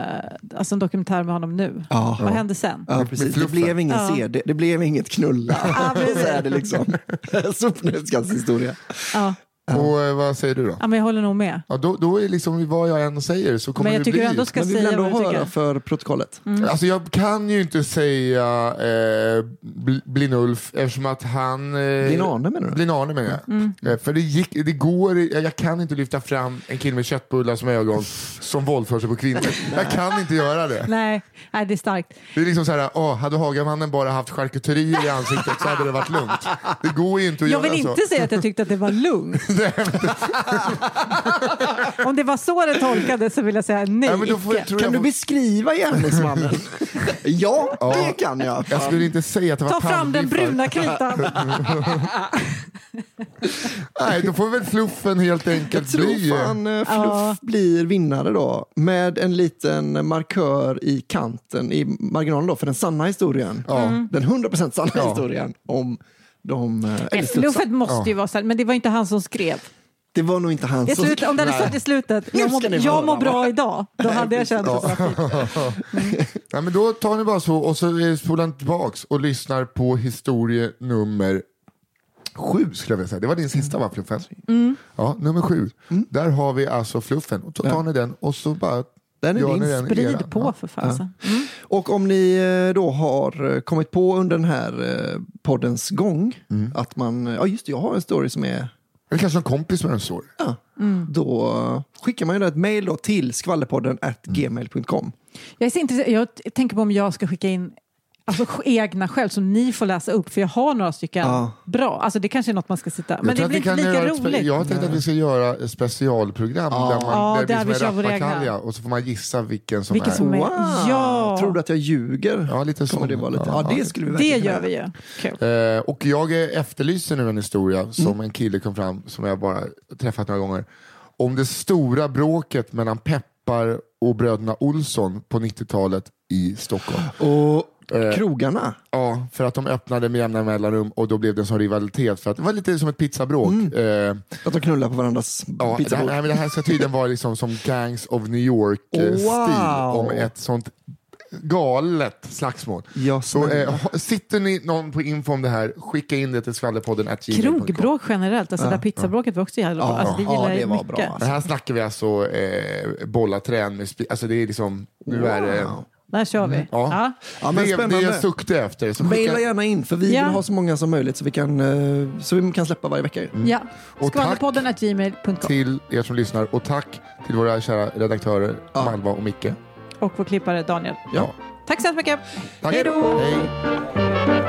alltså en dokumentär med honom nu.
Ja.
Vad hände sen?
Ja, precis. Det
fluffen.
blev ingen
Ja.
CD, det blev inget knulla.
Ja, precis.
så är det liksom. Sopnedkastshistoria.
Ja.
Och eh, vad säger du då?
Ja, men jag håller nog med.
Ja, då, då är liksom vad jag än säger så kommer
Men jag
det bli...
tycker ändå mm. ska
Men vi vill
säga
ändå
vad du
höra
tycker.
för protokollet.
Alltså jag kan ju inte säga eh, Bl- Blinulf eftersom att han... Eh,
Blinane menar du?
Blinane menar jag.
Mm.
Eh, För det, gick, det går, jag jag kan inte lyfta fram en kille med köttbullar som ögon som våldför sig på kvinnor. jag kan inte göra det.
Nej, nej, det är starkt.
Det är liksom så här, åh, hade Hagamannen bara haft charkuterier i ansiktet så hade det varit lugnt. Det går ju inte att
Jag
göra
vill
så.
inte säga att jag tyckte att det var lugnt. Om det var så det tolkades så vill jag säga nej.
Ja, men då får,
icke.
tror
Kan
jag,
du beskriva gärningsmannen? ja, det kan jag.
jag skulle inte säga att det var
Ta fram den
pannbiffar.
bruna kritan.
Nej, då får väl fluffen helt enkelt
Jag
bli...
tror fan eh, Fluff
Ja.
blir vinnare då. Med en liten markör i kanten, i marginalen då, för den sanna historien. Mm.
Mm.
Den 100% sanna historien om de eh, älgstudsarna.
Fluffet måste ju vara så här, men det var inte han som skrev.
Det var nog inte han
I
som...
slutet, om det hade
Nej.
stått i slutet,
Nu
jag
ska
mår
ni
jag
höra,
mår
va?
bra idag, då hade jag känt att det var fint.
Ja, men då tar ni bara så och så eh, spolar ni tillbaks och lyssnar på historie nummer sju skulle jag vilja säga. Det var din sista va
Mm.
Mm.
Fluffen? Ja, nummer sju. Där har vi alltså Fluffen. Och så tar ni den och så bara
Den är
Ja,
din.
nu är den era.
Sprid på
Ja.
för fasen. Mm.
Och om ni eh, då har eh, kommit på under den här eh, poddens gång
Mm.
att man, eh, ja just det, jag har en story som är
Eller kanske en kompis med en sår.
Ja.
Mm.
Då eh, skickar man ju då ett mejl då till skvallerpodden at
Mm.
gmail.com.
Jag, är så intresserad, jag t- tänker på om jag ska skicka in alltså, sj- egna själv som ni får läsa upp för jag har några stycken
Ja.
bra. Alltså, det kanske är något man ska sitta...
Jag
Men
tror
det
att
blir
vi
inte
kan
lika
göra ett spe-
roligt.
Jag tänkte att vi ska göra ett specialprogram där,
Ja,
man, där,
där
det blir som
vi kör
en
vår egna.
rappakalja och så får man gissa vilken som
Vilken
är.
som- Men-
Wow!
ja.
Tror du att jag ljuger?
Ja, lite
Kommer
sån.
det vara lite?
Ja,
Ja, det skulle vi
Det
verkligen
gör
kunna
vi ju. Kul.
Eh, och jag eh, efterlyser nu en historia som en kille kom fram som jag bara träffat några gånger. Om det stora bråket mellan Peppar och bröderna Olsson på 90-talet i Stockholm.
Och
eh,
krogarna.
Ja, för att de öppnade med jämna mellanrum och då blev det en sån rivalitet. För att det var lite som ett pizzabråk. Eh,
Att de knullar på varandras
Ja, det, här,
pizzabord.
nej, men det här ska tydligen vara liksom som Gangs of New York-stil
Wow.
om ett sånt galet slagsmål.
Ja,
Så
snälla.
eh, ha- sitter ni någon på info om det här, skicka in det till skvallerpodden at gmail.com.
Krogbråk generellt, alltså där pizzabråket var också jävla bra. Alltså, det
ja,
gillar
det
jag
var
mycket.
bra.
Men här snackar vi alltså eh, bollaträn med spi- alltså det är liksom, nu är det,
Wow.
Där kör vi.
ja.
Mm. Ja, men
det, är- det är
spännande.
jag suktar efter. Så
Maila
skicka,
gärna in för vi
Ja.
vill ha så många som möjligt så vi kan, eh, så vi kan släppa varje vecka. ju.
Ja.
Och tack
Skvallerpodden at gmail.com
till er som lyssnar och tack till våra kära redaktörer Malva och Micke.
och vår klippare Daniel.
Ja.
Tack så hemskt mycket.
Tack.
Hej då!
Hej.